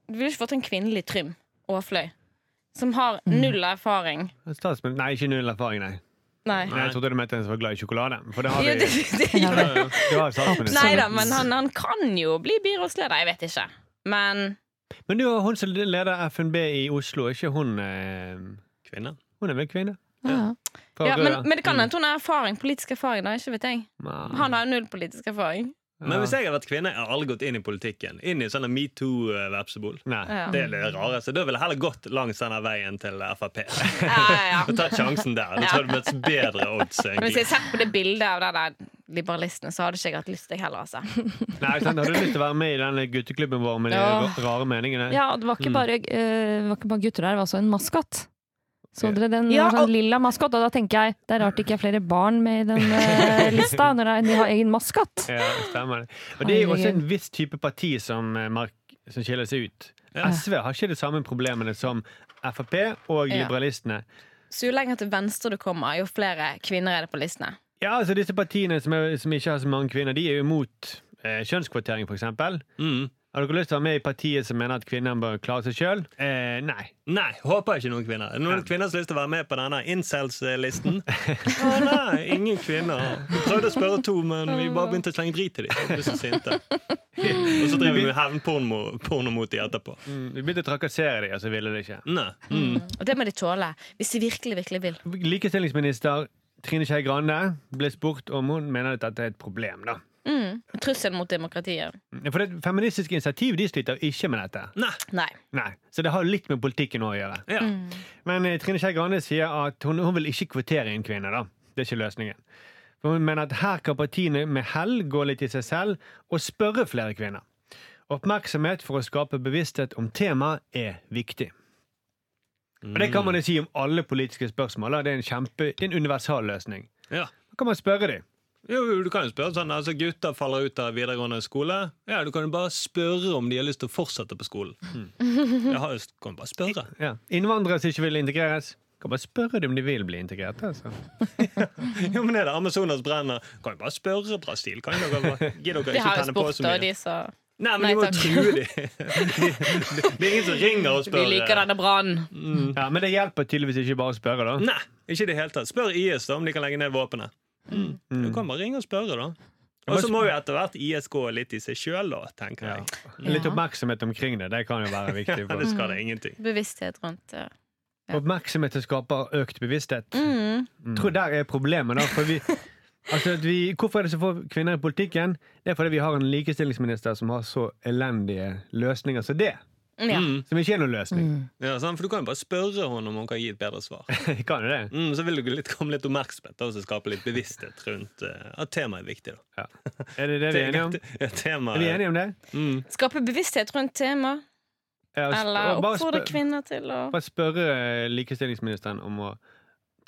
[SPEAKER 4] Du ville ikke fått en kvinnelig Trym Aafløy. Som har
[SPEAKER 5] Mm.
[SPEAKER 4] null erfaring.
[SPEAKER 2] Statsminister Nei, ikke null erfaring, nei.
[SPEAKER 4] Nei.
[SPEAKER 2] nei. Jeg trodde du mente en som var glad i sjokolade. For det har
[SPEAKER 4] Jo,
[SPEAKER 2] vi.
[SPEAKER 4] det, det,
[SPEAKER 5] <laughs> Ja,
[SPEAKER 4] det.
[SPEAKER 5] det-
[SPEAKER 2] Det har statsministeren.
[SPEAKER 4] Nei da, men han, han kan jo bli byrådsleder. Jeg vet ikke. Men
[SPEAKER 2] Men du, hun som leder FNB i Oslo, er ikke hun eh,
[SPEAKER 3] Kvinne.
[SPEAKER 2] Hun er vel kvinne?
[SPEAKER 5] Ja.
[SPEAKER 2] Fra
[SPEAKER 4] Ja, men,
[SPEAKER 2] Røa.
[SPEAKER 4] men det kan hende at hun har erfaring, politisk erfaring. Da, ikke vet jeg.
[SPEAKER 2] Nei.
[SPEAKER 4] Han har jo null politisk erfaring.
[SPEAKER 3] Men hvis jeg hadde vært kvinne, jeg hadde aldri gått inn i politikken. Inn i sånne metoo-vepsebol.
[SPEAKER 2] Nei.
[SPEAKER 4] Ja.
[SPEAKER 3] Det er det rareste. Da ville jeg heller gått langs denne veien til Frp. <laughs>
[SPEAKER 4] <laughs> Ja, ja, ja.
[SPEAKER 3] Og tatt sjansen der. Da tror jeg det ble et bedre odds,
[SPEAKER 4] Men hvis jeg
[SPEAKER 3] egentlig.
[SPEAKER 4] ser på det bildet av den der liberalistene, så hadde ikke jeg hatt lyst til det heller. Altså.
[SPEAKER 2] Nei, sant? Har du lyst til å være med i denne gutteklubben vår med de
[SPEAKER 4] Ja.
[SPEAKER 2] ra- rare meningene?
[SPEAKER 5] Ja, og det var ikke, bare, eh, det var ikke bare gutter der, det var også en maskott. Så dere den
[SPEAKER 4] Ja,
[SPEAKER 5] var
[SPEAKER 4] og-
[SPEAKER 5] sånn lilla maskott? Og da tenker jeg det er rart det ikke er flere barn med i den eh, lista, når det er- de har egen maskott.
[SPEAKER 2] Ja, stemmer det. Og det er jo også
[SPEAKER 5] Herregud.
[SPEAKER 2] en viss type parti som, eh, mark som skiller seg ut. Eh,
[SPEAKER 3] Ja.
[SPEAKER 2] SV har ikke de samme problemene som Frp og
[SPEAKER 4] Ja.
[SPEAKER 2] liberalistene.
[SPEAKER 4] Så jo lenger til venstre du kommer, jo flere kvinner er det på listene.
[SPEAKER 2] Ja, altså Disse partiene som, er, som ikke har så mange kvinner, de er jo imot eh, kjønnskvotering, f.eks.
[SPEAKER 3] Mm.
[SPEAKER 2] Har dere lyst til å være med i partiet som mener at kvinner bør klare seg sjøl? Eh, nei.
[SPEAKER 3] Nei, håper ikke noen kvinner. Er det Noen kvinner som har lyst til å være med på denne incels-listen?
[SPEAKER 2] <laughs>
[SPEAKER 3] Å nei, ingen kvinner. Vi prøvde å spørre to, men vi bare begynte å slenge drit til dem. De ble så sinte. Og så driver vi med hevnporno porno mot dem etterpå.
[SPEAKER 2] Mm, Vi begynte å trakassere dem, og så ville de ikke.
[SPEAKER 3] Nei. Mm.
[SPEAKER 4] Og det må de tåle. Hvis de virkelig, virkelig vil.
[SPEAKER 2] Likestillingsminister Trine Skei Grande ble spurt om hun mener at dette er et problem. da. Mm,
[SPEAKER 4] Mm. Trussel mot demokratiet.
[SPEAKER 2] For det Feministiske initiativ de sliter ikke med dette.
[SPEAKER 3] Nei.
[SPEAKER 4] Nei. Mm.
[SPEAKER 2] Nei, Så det har litt med politikken å gjøre.
[SPEAKER 3] Ja.
[SPEAKER 2] Men eh, Trine Skei Grande sier at hun, hun vil ikke kvotere inn kvinner. da. Det er ikke løsningen. For hun mener at her kan partiene med hell gå litt i seg selv og spørre flere kvinner. Oppmerksomhet for å skape bevissthet om temaet er viktig. Og Det kan man jo si om alle politiske spørsmål. da. Det er en, kjempe, det er en universal løsning.
[SPEAKER 3] Ja.
[SPEAKER 2] Da kan man spørre dem.
[SPEAKER 3] Jo, jo, du kan jo spørre sånn, altså Gutter faller ut av videregående skole. Ja, Du kan jo bare spørre om de har lyst til å fortsette på skolen.
[SPEAKER 2] Mm.
[SPEAKER 3] Jeg har jo, kan bare spørre.
[SPEAKER 2] Ja. Innvandrere som ikke vil integreres. Kan bare spørre dem om de vil bli integrert. Altså.
[SPEAKER 3] Jo, men er det Amazonas brenner? Kan jo bare spørre Brasil. Kan dere bare, gidder dere
[SPEAKER 4] De
[SPEAKER 3] ikke
[SPEAKER 4] har jo
[SPEAKER 3] tenne på
[SPEAKER 4] spurt,
[SPEAKER 3] så mye?
[SPEAKER 4] og de så
[SPEAKER 3] Nei, men
[SPEAKER 4] Nei,
[SPEAKER 3] de må
[SPEAKER 4] takk.
[SPEAKER 3] true
[SPEAKER 4] <laughs>
[SPEAKER 3] dem. Det er ingen som ringer og
[SPEAKER 4] Vi
[SPEAKER 3] spør. eh,
[SPEAKER 4] liker denne brannen.
[SPEAKER 2] Ja, men det hjelper tydeligvis ikke bare å spørre, da.
[SPEAKER 3] Nei, ikke i det hele tatt. Spør IS da om de kan legge ned våpenet.
[SPEAKER 4] Mm.
[SPEAKER 2] Mm.
[SPEAKER 3] Du kan bare ringe og spørre, da. Og så må jo etter hvert IS gå litt i seg sjøl, da, tenker
[SPEAKER 2] Ja.
[SPEAKER 3] jeg.
[SPEAKER 2] Litt oppmerksomhet omkring det. Det kan jo være
[SPEAKER 3] <laughs>
[SPEAKER 2] viktig.
[SPEAKER 3] Men
[SPEAKER 2] For.
[SPEAKER 3] det skal det ingenting.
[SPEAKER 4] Bevissthet rundt eh. ja.
[SPEAKER 2] Oppmerksomhet som skaper økt bevissthet.
[SPEAKER 4] mm.
[SPEAKER 2] Jeg tror der er problemet. da for vi, altså at vi, Hvorfor er det så få kvinner i politikken? Det er fordi vi har en likestillingsminister som har så elendige løsninger som det.
[SPEAKER 4] ja.
[SPEAKER 3] Mm.
[SPEAKER 2] Som ikke er noen løsning.
[SPEAKER 3] Ja, sant? For du kan jo bare spørre henne om hun kan gi et bedre svar.
[SPEAKER 2] Jeg <laughs> kan jo det.
[SPEAKER 3] Mm, så vil du litt, komme litt oppmerksomhet da, og så skape litt bevissthet rundt eh, at temaet er viktig. da.
[SPEAKER 2] Ja. Er det det vi er enige om?
[SPEAKER 3] Ja, temaet,
[SPEAKER 2] Er vi enige om det?
[SPEAKER 3] Mm.
[SPEAKER 4] Skape bevissthet rundt tema,
[SPEAKER 2] Ja, og sp-
[SPEAKER 4] eller
[SPEAKER 2] og bare
[SPEAKER 4] oppfordre
[SPEAKER 2] spør-
[SPEAKER 4] kvinner til å
[SPEAKER 2] Bare spørre eh, likestillingsministeren om å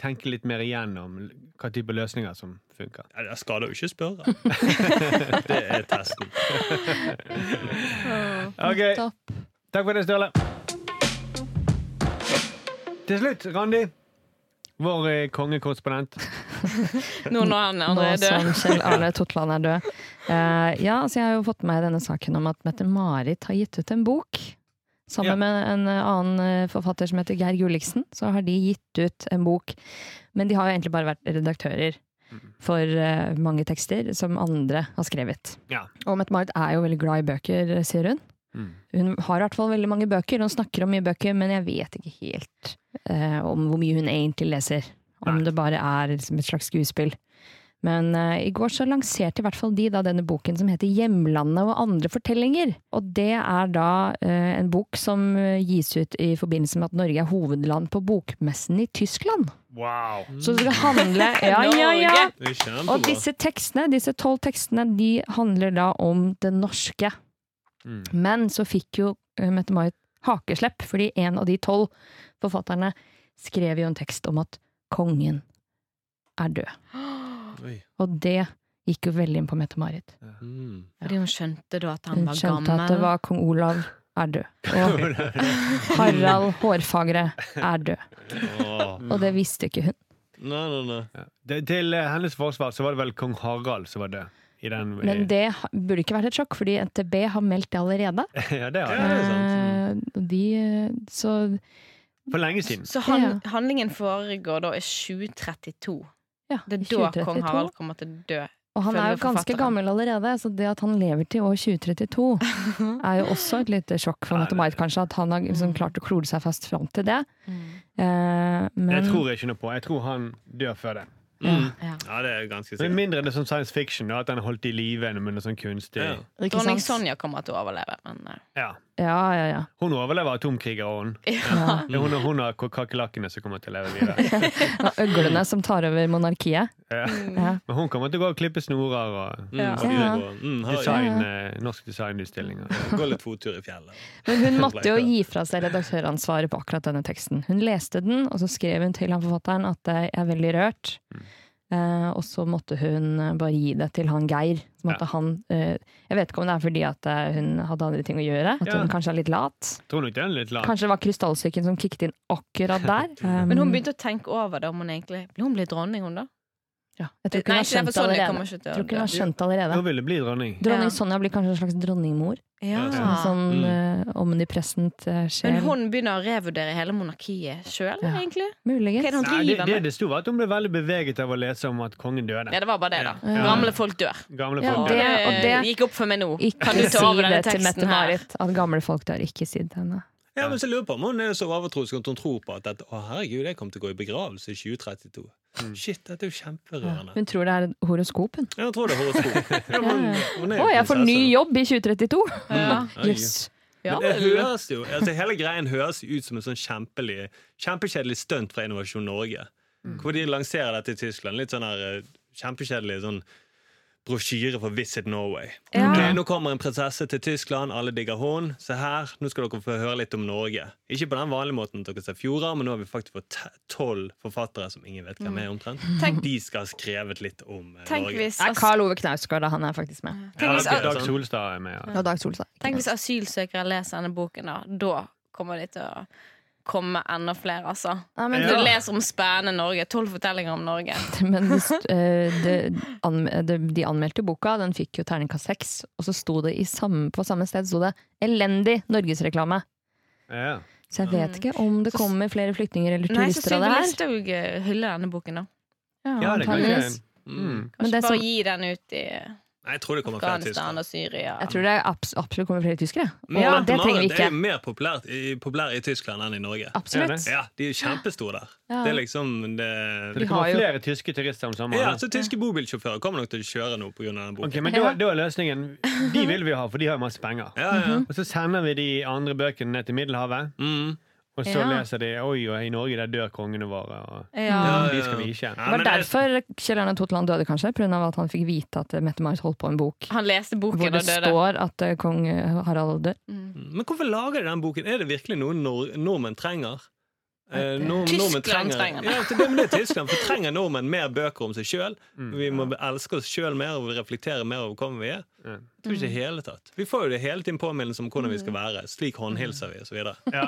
[SPEAKER 2] tenke litt mer igjennom l- hva type løsninger som funker.
[SPEAKER 3] Ja, det skader jo ikke å spørre.
[SPEAKER 4] <laughs>
[SPEAKER 3] det er testen.
[SPEAKER 2] Ok,
[SPEAKER 5] Topp.
[SPEAKER 2] Takk for det, Sturle. Til slutt, Randi. Vår eh, kongekorrespondent.
[SPEAKER 4] Nå når han
[SPEAKER 5] Nå
[SPEAKER 4] andre er
[SPEAKER 5] som
[SPEAKER 4] død.
[SPEAKER 5] <laughs> Kjell Arne Totland er død. Eh, ja, så jeg har jo fått med meg denne saken om at Mette-Marit har gitt ut en bok. Sammen
[SPEAKER 2] Ja.
[SPEAKER 5] med en eh, annen eh, forfatter som heter Geir Gulliksen, så har de gitt ut en bok. Men de har jo egentlig bare vært redaktører
[SPEAKER 2] Mm.
[SPEAKER 5] for eh, mange tekster som andre har skrevet.
[SPEAKER 2] Ja.
[SPEAKER 5] Og Mette-Marit er jo veldig glad i bøker, eh, sier hun.
[SPEAKER 2] Mm.
[SPEAKER 5] Hun har i hvert fall veldig mange bøker, hun snakker om mye bøker, men jeg vet ikke helt eh, om hvor mye hun egentlig leser. Om
[SPEAKER 2] Nei.
[SPEAKER 5] det bare er liksom et slags skuespill. Men eh, i går så lanserte i hvert fall de da denne boken som heter 'Hjemlandet og andre fortellinger'. Og det er da eh, en bok som eh, gis ut i forbindelse med at Norge er hovedland på bokmessen i Tyskland.
[SPEAKER 2] Wow.
[SPEAKER 5] Så det skal
[SPEAKER 2] <laughs>
[SPEAKER 5] handle Ja, ja, ja!
[SPEAKER 4] Norge!
[SPEAKER 3] Det er kjempebra.
[SPEAKER 5] Og disse tekstene, disse tolv tekstene, de handler da om det norske.
[SPEAKER 2] Mm.
[SPEAKER 5] Men så fikk jo eh, Mette-Marit hakeslepp, fordi en av de tolv forfatterne skrev jo en tekst om at kongen er død.
[SPEAKER 3] Oi.
[SPEAKER 5] Og det gikk jo veldig inn på Mette-Marit.
[SPEAKER 3] Mm.
[SPEAKER 4] Fordi hun skjønte da at han
[SPEAKER 5] Hun
[SPEAKER 4] var
[SPEAKER 5] skjønte at det
[SPEAKER 4] gammel.
[SPEAKER 5] var kong Olav er <laughs> død. Og Harald Hårfagre er død.
[SPEAKER 3] Åh.
[SPEAKER 5] Og det visste ikke hun.
[SPEAKER 3] Nei, nei, nei.
[SPEAKER 2] Ja. Det, til eh, hennes forsvar så var det vel kong Harald som var død. I den, i,
[SPEAKER 5] Men det ha- burde ikke vært et sjokk, fordi NTB har meldt det allerede.
[SPEAKER 2] <laughs> ja, det har
[SPEAKER 3] Ja,
[SPEAKER 2] jeg.
[SPEAKER 3] det er sant.
[SPEAKER 5] Eh, og De, eh, så
[SPEAKER 2] For lenge siden.
[SPEAKER 4] Så han,
[SPEAKER 5] Ja.
[SPEAKER 4] handlingen foregår da i 2032.
[SPEAKER 5] ja,
[SPEAKER 4] Det
[SPEAKER 5] i
[SPEAKER 4] er da kong
[SPEAKER 5] 2032.
[SPEAKER 4] Harald kommer til å dø.
[SPEAKER 5] Og han er jo
[SPEAKER 4] Følger
[SPEAKER 5] ganske
[SPEAKER 4] forfatteren.
[SPEAKER 5] gammel allerede, så det at han lever til år <laughs> 2032 er jo også et lite sjokk for
[SPEAKER 2] Nei,
[SPEAKER 5] Mette-Marit, kanskje, at han har liksom klart å klore seg fast fram til det. Eh, men
[SPEAKER 2] Det tror jeg ikke noe på. Jeg tror han dør før det.
[SPEAKER 3] Mm.
[SPEAKER 4] Ja.
[SPEAKER 3] Ja, det er ganske
[SPEAKER 2] Med
[SPEAKER 3] sikkert.
[SPEAKER 2] mindre det er sånn science fiction, da, at han er holdt i live under sånn kunstig
[SPEAKER 3] Ja.
[SPEAKER 5] ikke
[SPEAKER 4] Dronning
[SPEAKER 5] sant?
[SPEAKER 4] Sonja kommer til å overleve, men eh,
[SPEAKER 2] Ja.
[SPEAKER 5] Ja, ja, ja.
[SPEAKER 2] Hun overlever atomkriger, og hun.
[SPEAKER 5] ja.
[SPEAKER 2] Det er hun, hun har kakerlakkene som kommer til å leve videre.
[SPEAKER 5] <laughs> Og øglene som tar over monarkiet.
[SPEAKER 2] Ja.
[SPEAKER 5] Ja.
[SPEAKER 2] Men hun kommer til å gå og klippe snorer og
[SPEAKER 3] Mm,
[SPEAKER 4] Ja.
[SPEAKER 3] så videre går- Mm, har-
[SPEAKER 2] design, eh, norsk designutstillinger.
[SPEAKER 3] <laughs> Gå litt fottur i fjellet.
[SPEAKER 5] Men
[SPEAKER 2] <laughs>
[SPEAKER 5] hun måtte jo gi fra seg redaktøransvaret på akkurat denne teksten. Hun leste den, og så skrev hun til han forfatteren at eh, jeg er veldig rørt.
[SPEAKER 2] Mm.
[SPEAKER 5] Eh, og så måtte hun eh, bare gi det til han Geir. Så måtte
[SPEAKER 2] Ja.
[SPEAKER 5] han, eh, jeg vet ikke om det er fordi at eh, hun hadde andre ting å gjøre, at
[SPEAKER 2] Ja.
[SPEAKER 5] hun kanskje er litt lat.
[SPEAKER 2] Tror nok det er litt lat.
[SPEAKER 5] Kanskje det var krystallsyken som kikket inn akkurat der. Mm.
[SPEAKER 4] Men hun begynte å tenke over det om hun egentlig Ble hun blitt dronning, hun da?
[SPEAKER 5] Ja, jeg tror ikke hun
[SPEAKER 1] Nei,
[SPEAKER 5] har
[SPEAKER 1] ikke
[SPEAKER 5] skjønt
[SPEAKER 1] derfor Sonja
[SPEAKER 5] allerede.
[SPEAKER 1] kommer ikke
[SPEAKER 5] Jeg tror ikke
[SPEAKER 1] til
[SPEAKER 5] hun
[SPEAKER 1] å
[SPEAKER 5] har skjønt allerede.
[SPEAKER 2] Nå vil det bli dronning.
[SPEAKER 1] Ja.
[SPEAKER 5] Dronning Sonja blir kanskje en slags dronningmor.
[SPEAKER 1] ja.
[SPEAKER 5] Som en sånn eh, omnipresent eh, sjel.
[SPEAKER 4] Men hun begynner å revurdere hele monarkiet sjøl,
[SPEAKER 5] Ja.
[SPEAKER 4] egentlig. Hva er det
[SPEAKER 5] Muligens.
[SPEAKER 4] hun
[SPEAKER 2] Nei, det,
[SPEAKER 4] driver
[SPEAKER 2] det
[SPEAKER 4] med?
[SPEAKER 2] det sto, var at hun ble veldig beveget av å lese om at kongen døde.
[SPEAKER 4] Ja, det var bare det, da.
[SPEAKER 5] Ja.
[SPEAKER 4] Gamle folk dør.
[SPEAKER 2] Gamle
[SPEAKER 5] Ja,
[SPEAKER 2] folk
[SPEAKER 4] Det,
[SPEAKER 2] døde.
[SPEAKER 5] og det-
[SPEAKER 4] gikk opp for meg nå.
[SPEAKER 5] Ikke
[SPEAKER 4] Kan du ta
[SPEAKER 5] si
[SPEAKER 4] over
[SPEAKER 5] det
[SPEAKER 4] denne
[SPEAKER 5] til
[SPEAKER 4] teksten her?
[SPEAKER 5] Mette-Marit at gamle folk dør. Ikke si det til henne.
[SPEAKER 3] Ja, men så lurer jeg på om hun er så overtroisk at hun tror på at, at å herregud, jeg kommer til å gå i begravelse i 2032. Shit, dette er jo kjemperørende.
[SPEAKER 5] Hun tror det er et horoskop, hun.
[SPEAKER 3] Jeg tror det er horoskop. Ja,
[SPEAKER 5] Ja, ja.
[SPEAKER 3] hun er
[SPEAKER 5] Å, jeg får ny
[SPEAKER 3] prinsesse.
[SPEAKER 5] jobb i 2032! <laughs>
[SPEAKER 4] Ja.
[SPEAKER 3] Oi.
[SPEAKER 5] Jøss.
[SPEAKER 4] Ja,
[SPEAKER 3] Men det høres jo, altså Hele greien høres jo ut som en sånn kjempelig, kjempekjedelig stunt fra Innovasjon Norge.
[SPEAKER 4] Mm.
[SPEAKER 3] Hvor de lanserer dette i Tyskland. Litt sånn her eh, kjempekjedelig sånn brosjyre for Visit Norway.
[SPEAKER 1] Ja.
[SPEAKER 3] Ok, nå kommer en prinsesse til Tyskland, alle digger hun. Se her, nå skal dere få høre litt om Norge. Ikke på den vanlige måten at dere ser fjorder, men nå har vi faktisk fått te- tolv forfattere som ingen vet hvem er omtrent.
[SPEAKER 4] Tenk-
[SPEAKER 3] De skal ha skrevet litt om eh,
[SPEAKER 4] Mm. Tenk
[SPEAKER 3] Norge.
[SPEAKER 4] hvis,
[SPEAKER 5] Det er Karl Ove Knausgård, da. Han er faktisk med.
[SPEAKER 4] tenk hvis,
[SPEAKER 3] Ja, det er
[SPEAKER 2] Dag
[SPEAKER 3] sånn.
[SPEAKER 2] Solstad er med. Ja.
[SPEAKER 5] Og Dag Solstad.
[SPEAKER 4] tenk hvis asylsøkere leser denne boken, da. Da kommer de til å komme enda flere, altså.
[SPEAKER 5] Ja, men
[SPEAKER 4] Du
[SPEAKER 2] Ja.
[SPEAKER 4] leser om spennende Norge. Tolv fortellinger om Norge.
[SPEAKER 5] <laughs> Men det st- eh, det, anm- eh, det, de anmeldte boka, den fikk jo terningkast seks. Og så sto det i samme, på samme sted sto det 'elendig norgesreklame'.
[SPEAKER 2] Ja.
[SPEAKER 5] Mm. Så jeg vet ikke om det kommer flere flyktninger eller
[SPEAKER 4] Nei, så
[SPEAKER 5] turister av
[SPEAKER 4] Sylvi
[SPEAKER 5] det her.
[SPEAKER 4] Listhaug eh, hyller denne boken, da.
[SPEAKER 2] ja, det kan
[SPEAKER 5] antageligvis.
[SPEAKER 2] jeg. Mm.
[SPEAKER 5] Men
[SPEAKER 4] Kanskje bare
[SPEAKER 5] det som-
[SPEAKER 4] gi den ut i
[SPEAKER 3] Nei, jeg tror det kommer flere tyskere.
[SPEAKER 4] Afghanistan og Syria.
[SPEAKER 5] Jeg tror det er abs absolutt kommer flere tyskere. Og
[SPEAKER 3] Men Mette
[SPEAKER 5] det trenger vi
[SPEAKER 3] Marit er jo
[SPEAKER 5] ikke.
[SPEAKER 3] mer populært i, populær i Tyskland enn i Norge.
[SPEAKER 5] Absolutt.
[SPEAKER 3] Ja, de er kjempestore der.
[SPEAKER 5] Ja.
[SPEAKER 3] Det er liksom det,
[SPEAKER 2] Så det
[SPEAKER 5] Vi har
[SPEAKER 2] kommer
[SPEAKER 5] jo-
[SPEAKER 2] flere tyske turister om sommeren.
[SPEAKER 3] ja,
[SPEAKER 2] da.
[SPEAKER 3] så Tyske bobilsjåfører kommer nok til å kjøre nå pga. den boken.
[SPEAKER 2] Ok, men da, da er løsningen De vil vi ha, for de har masse penger.
[SPEAKER 3] Ja, ja.
[SPEAKER 2] Og så sender vi de andre bøkene ned til Middelhavet,
[SPEAKER 3] Mm.
[SPEAKER 2] og så
[SPEAKER 4] Ja.
[SPEAKER 2] leser de Oi, og i Norge der dør kongene våre. Og
[SPEAKER 3] Ja,
[SPEAKER 4] Ja.
[SPEAKER 2] de
[SPEAKER 3] ja.
[SPEAKER 2] skal vi ikke.
[SPEAKER 5] Det
[SPEAKER 3] Ja,
[SPEAKER 5] var
[SPEAKER 3] men det-
[SPEAKER 5] derfor Kjell Arne Totland døde, kanskje. Pga. at han fikk vite at eh, Mette-Marit holdt på en bok
[SPEAKER 4] Han leste
[SPEAKER 5] hvor
[SPEAKER 4] boken
[SPEAKER 5] Ah, det
[SPEAKER 4] og døde. Mm.
[SPEAKER 5] står at eh, kong eh, Harald dør.
[SPEAKER 3] Men hvorfor lager de den boken? Er det virkelig noe nor nordmenn trenger? Eh, nor-
[SPEAKER 4] Tyskland
[SPEAKER 3] nordmenn
[SPEAKER 4] trenger det.
[SPEAKER 3] Ja, det, men det er Tyskland, for trenger nordmenn mer bøker om seg sjøl? Vi må elske oss sjøl mer og reflektere mer over hvem vi er.
[SPEAKER 2] Mm.
[SPEAKER 3] Jeg tror ikke i det hele tatt. Vi får jo det hele tiden påminnelse om hvordan vi skal være. Slik håndhilser vi, osv.
[SPEAKER 2] Ja.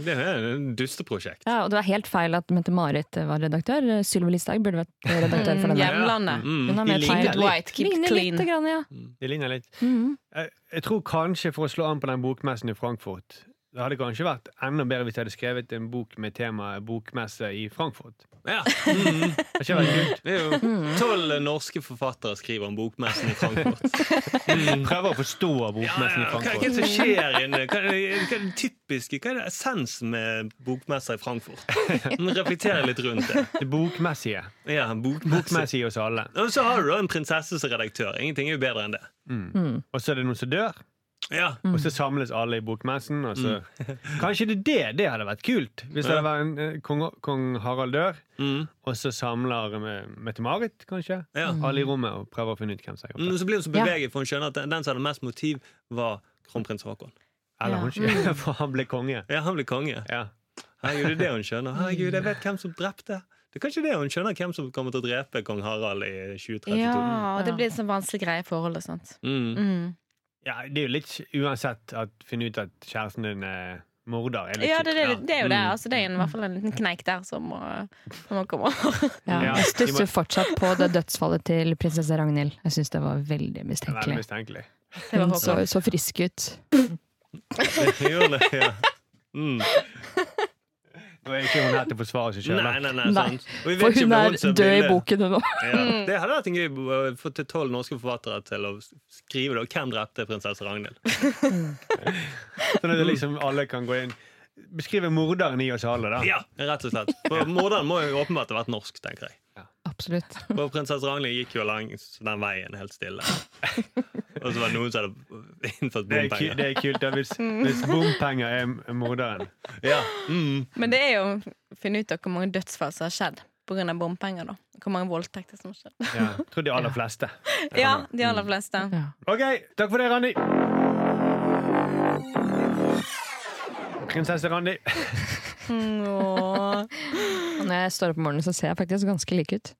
[SPEAKER 3] Det er jo et dusteprosjekt.
[SPEAKER 5] Ja, og det var helt feil at Mette-Marit eh, var redaktør. Eh, Sylvi Listhaug burde vært eh, redaktør for
[SPEAKER 4] Mm,
[SPEAKER 5] denne.
[SPEAKER 4] Hjemlandet.
[SPEAKER 3] Mm.
[SPEAKER 5] Hun har
[SPEAKER 2] De
[SPEAKER 5] mer
[SPEAKER 2] ligner
[SPEAKER 5] feil.
[SPEAKER 4] Keep it white, keep it
[SPEAKER 5] Ligner
[SPEAKER 4] clean.
[SPEAKER 5] lite grann, ja.
[SPEAKER 2] Det ligner litt.
[SPEAKER 5] Mhm.
[SPEAKER 2] Jeg, jeg tror kanskje for å slå an på den bokmessen i Frankfurt det hadde kanskje vært enda bedre hvis jeg hadde skrevet en bok med temaet bokmesse i Frankfurt.
[SPEAKER 3] Ja. Mm.
[SPEAKER 2] Det hadde ikke vært kult.
[SPEAKER 3] Det er jo tolv norske forfattere skriver om bokmessen i Frankfurt. Mm.
[SPEAKER 2] Prøve å forstå bokmessen i
[SPEAKER 3] Hva hva er det
[SPEAKER 2] Frankfurt.
[SPEAKER 3] som skjer inne? Hva er det- hva er det typiske? Hva er det essensen med bokmesser i Frankfurt? Men Reflektere litt rundt det.
[SPEAKER 2] Det bokmessige.
[SPEAKER 3] Ja, bokmesse.
[SPEAKER 2] Bokmessige hos alle.
[SPEAKER 3] Og så har du da en prinsesse som redaktør. Ingenting er jo bedre enn det.
[SPEAKER 2] Og så er det noen som dør,
[SPEAKER 3] Ja,
[SPEAKER 2] og så samles alle i bokmessen. Og så.
[SPEAKER 3] Mm.
[SPEAKER 2] Kanskje det er det det hadde vært kult. Hvis det hadde vært en eh, kong, kong Harald dør,
[SPEAKER 3] mm.
[SPEAKER 2] og så samler eh, Mette-Marit, kanskje,
[SPEAKER 3] Ja.
[SPEAKER 2] alle i rommet og prøver å finne ut hvem som har gjort
[SPEAKER 3] Mm,
[SPEAKER 2] det.
[SPEAKER 3] Så blir hun så beveget, for hun skjønner at den den som hadde mest motiv, var kronprins Haakon.
[SPEAKER 2] Eller hun ikke, <laughs> for han ble konge.
[SPEAKER 3] Ja, han ble konge.
[SPEAKER 2] Ja.
[SPEAKER 3] Herregud, det er det hun skjønner. Herregud, jeg vet hvem som drepte. Det er kanskje det hun skjønner, hvem som kommer til å drepe kong Harald i 2032.
[SPEAKER 4] Ja, og det blir en sånn vanskelig greie i forhold og sånt.
[SPEAKER 3] Mm.
[SPEAKER 4] Mm.
[SPEAKER 2] Ja, det er jo litt uansett at finne ut at kjæresten din er morder. Er litt
[SPEAKER 4] Ja, det, det,
[SPEAKER 2] kjipt.
[SPEAKER 4] det er jo det. Altså, det er en, i hvert fall en liten kneik der som må, som må komme over.
[SPEAKER 5] Ja,
[SPEAKER 2] Ja,
[SPEAKER 5] jeg
[SPEAKER 2] de
[SPEAKER 5] stusser
[SPEAKER 2] må-
[SPEAKER 5] fortsatt på det dødsfallet til prinsesse Ragnhild. Jeg syns det var
[SPEAKER 2] Ja,
[SPEAKER 5] veldig
[SPEAKER 2] veldig
[SPEAKER 5] mistenkelig.
[SPEAKER 2] mistenkelig.
[SPEAKER 4] <laughs> Det var
[SPEAKER 5] Hun så,
[SPEAKER 4] håpløst.
[SPEAKER 5] så frisk ut.
[SPEAKER 3] Gjør <laughs> det, ja. Mm.
[SPEAKER 2] Nå er ikke hun her til å forsvare seg sjøl.
[SPEAKER 3] Nei, nei, nei,
[SPEAKER 5] Nei.
[SPEAKER 3] sant. Og vi vet
[SPEAKER 5] For
[SPEAKER 3] ikke om det
[SPEAKER 5] hun er
[SPEAKER 3] som
[SPEAKER 5] død i
[SPEAKER 3] ville-
[SPEAKER 5] boken, Mm. hun òg.
[SPEAKER 3] Ja. Det hadde vært en gøy å få til tolv norske forfattere til å skrive det. Og hvem drepte prinsesse Ragnhild?
[SPEAKER 2] Sånn at det liksom alle kan gå inn. Beskrive morderen i oss alle, da.
[SPEAKER 3] Ja, rett og slett. For Morderen må jo åpenbart ha vært norsk, tenker jeg.
[SPEAKER 5] Absolutt.
[SPEAKER 3] For prinsesse Ragnhild gikk jo langs den veien helt stille. <laughs> Og så var det noen som hadde innført
[SPEAKER 2] Det er, ku,
[SPEAKER 3] bompenger.
[SPEAKER 2] det er kult da, hvis, hvis bompenger er m- morderen.
[SPEAKER 3] Ja. Mm.
[SPEAKER 4] Men det er jo å finne ut av hvor mange dødsfall som har skjedd pga. bompenger. da Hvor mange voldtekter som har skjedd.
[SPEAKER 2] Ja, jeg tror de aller fleste.
[SPEAKER 4] <laughs> Ja, de aller fleste.
[SPEAKER 5] Ja.
[SPEAKER 2] OK, takk for det, Randi. Prinsesse Randi.
[SPEAKER 4] Åh.
[SPEAKER 5] Når jeg står opp om morgenen, så ser jeg faktisk ganske lik ut.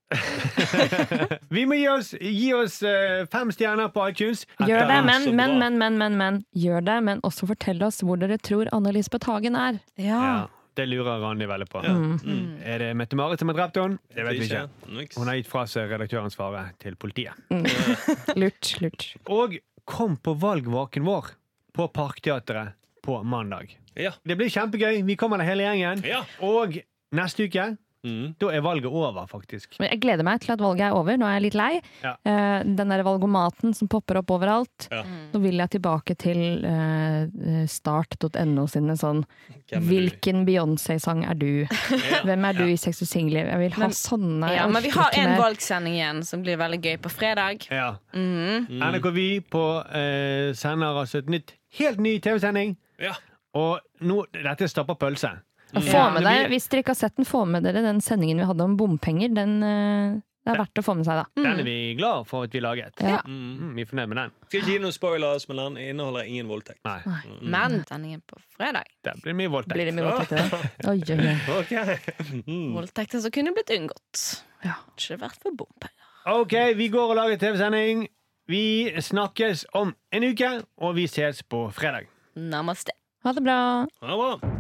[SPEAKER 2] Vi må gi oss, gi oss eh, fem stjerner på iTunes.
[SPEAKER 5] Gjør det,
[SPEAKER 3] er
[SPEAKER 5] men,
[SPEAKER 3] så
[SPEAKER 5] men,
[SPEAKER 3] bra.
[SPEAKER 5] men, men, men, men. Gjør det, men også fortell oss hvor dere tror Anne Lisbeth Hagen er.
[SPEAKER 4] Ja.
[SPEAKER 2] Ja, Det lurer Randi veldig på.
[SPEAKER 3] Ja.
[SPEAKER 5] Mm.
[SPEAKER 2] Er det Mette-Marit som har drept henne? Mm. Det vet vi ikke.
[SPEAKER 3] Niks.
[SPEAKER 2] Hun har gitt fra seg redaktørens fare til politiet.
[SPEAKER 5] Lurt, lurt.
[SPEAKER 2] Og kom på valgvaken vår på Parkteatret på mandag.
[SPEAKER 3] Ja.
[SPEAKER 2] Det blir kjempegøy. Vi kommer der hele gjengen.
[SPEAKER 3] Ja.
[SPEAKER 2] Og neste uke,
[SPEAKER 3] Mm.
[SPEAKER 2] da er valget over, faktisk.
[SPEAKER 5] Men jeg gleder meg til at valget er over. Nå er jeg litt lei.
[SPEAKER 2] Ja.
[SPEAKER 5] Eh, den der valgomaten som popper opp overalt.
[SPEAKER 3] Ja.
[SPEAKER 5] Nå vil jeg tilbake til eh, start.no sine sånn
[SPEAKER 3] Hvem er du?
[SPEAKER 5] Hvilken Beyoncé-sang er du?
[SPEAKER 3] Ja.
[SPEAKER 5] Hvem er du i Sex og singelliv? Jeg vil ha
[SPEAKER 4] Men-
[SPEAKER 5] sånne.
[SPEAKER 4] Ja,
[SPEAKER 5] jeg
[SPEAKER 4] men vi
[SPEAKER 5] orker
[SPEAKER 4] har
[SPEAKER 5] ikke
[SPEAKER 4] en
[SPEAKER 5] mer.
[SPEAKER 4] valgsending igjen som blir veldig gøy på fredag.
[SPEAKER 2] Ja.
[SPEAKER 4] Mhm.
[SPEAKER 3] Mm.
[SPEAKER 2] NRKV på eh, sender altså et nytt, helt ny TV-sending.
[SPEAKER 3] Ja.
[SPEAKER 2] Og nå, dette er stappa pølse.
[SPEAKER 5] Og Få
[SPEAKER 4] Ja.
[SPEAKER 5] med deg, hvis dere ikke har sett den, få med dere den sendingen vi hadde om bompenger. Den, eh, det er verdt å få med seg, da.
[SPEAKER 2] Den er vi glad for at vi laget.
[SPEAKER 5] Mm. Ja.
[SPEAKER 3] Mm.
[SPEAKER 2] Mm, vi er fornøyd med den.
[SPEAKER 3] Skal ikke gi noen spoilers, men den inneholder ingen voldtekt. Mm.
[SPEAKER 2] Nei,
[SPEAKER 4] Men sendingen på fredag
[SPEAKER 2] det blir mye voldtekt.
[SPEAKER 5] Blir det mye voldtekt i den? Oi, oi, oi.
[SPEAKER 3] Ok <laughs> Mm.
[SPEAKER 4] Mm. Voldtekten som kunne blitt unngått.
[SPEAKER 5] Ja.
[SPEAKER 4] Ikke vært for bompenger.
[SPEAKER 2] Ok, vi går og lager TV-sending. Vi snakkes om en uke, og vi ses på fredag.
[SPEAKER 4] Namaste.
[SPEAKER 5] Ha det bra.
[SPEAKER 3] Ha det bra.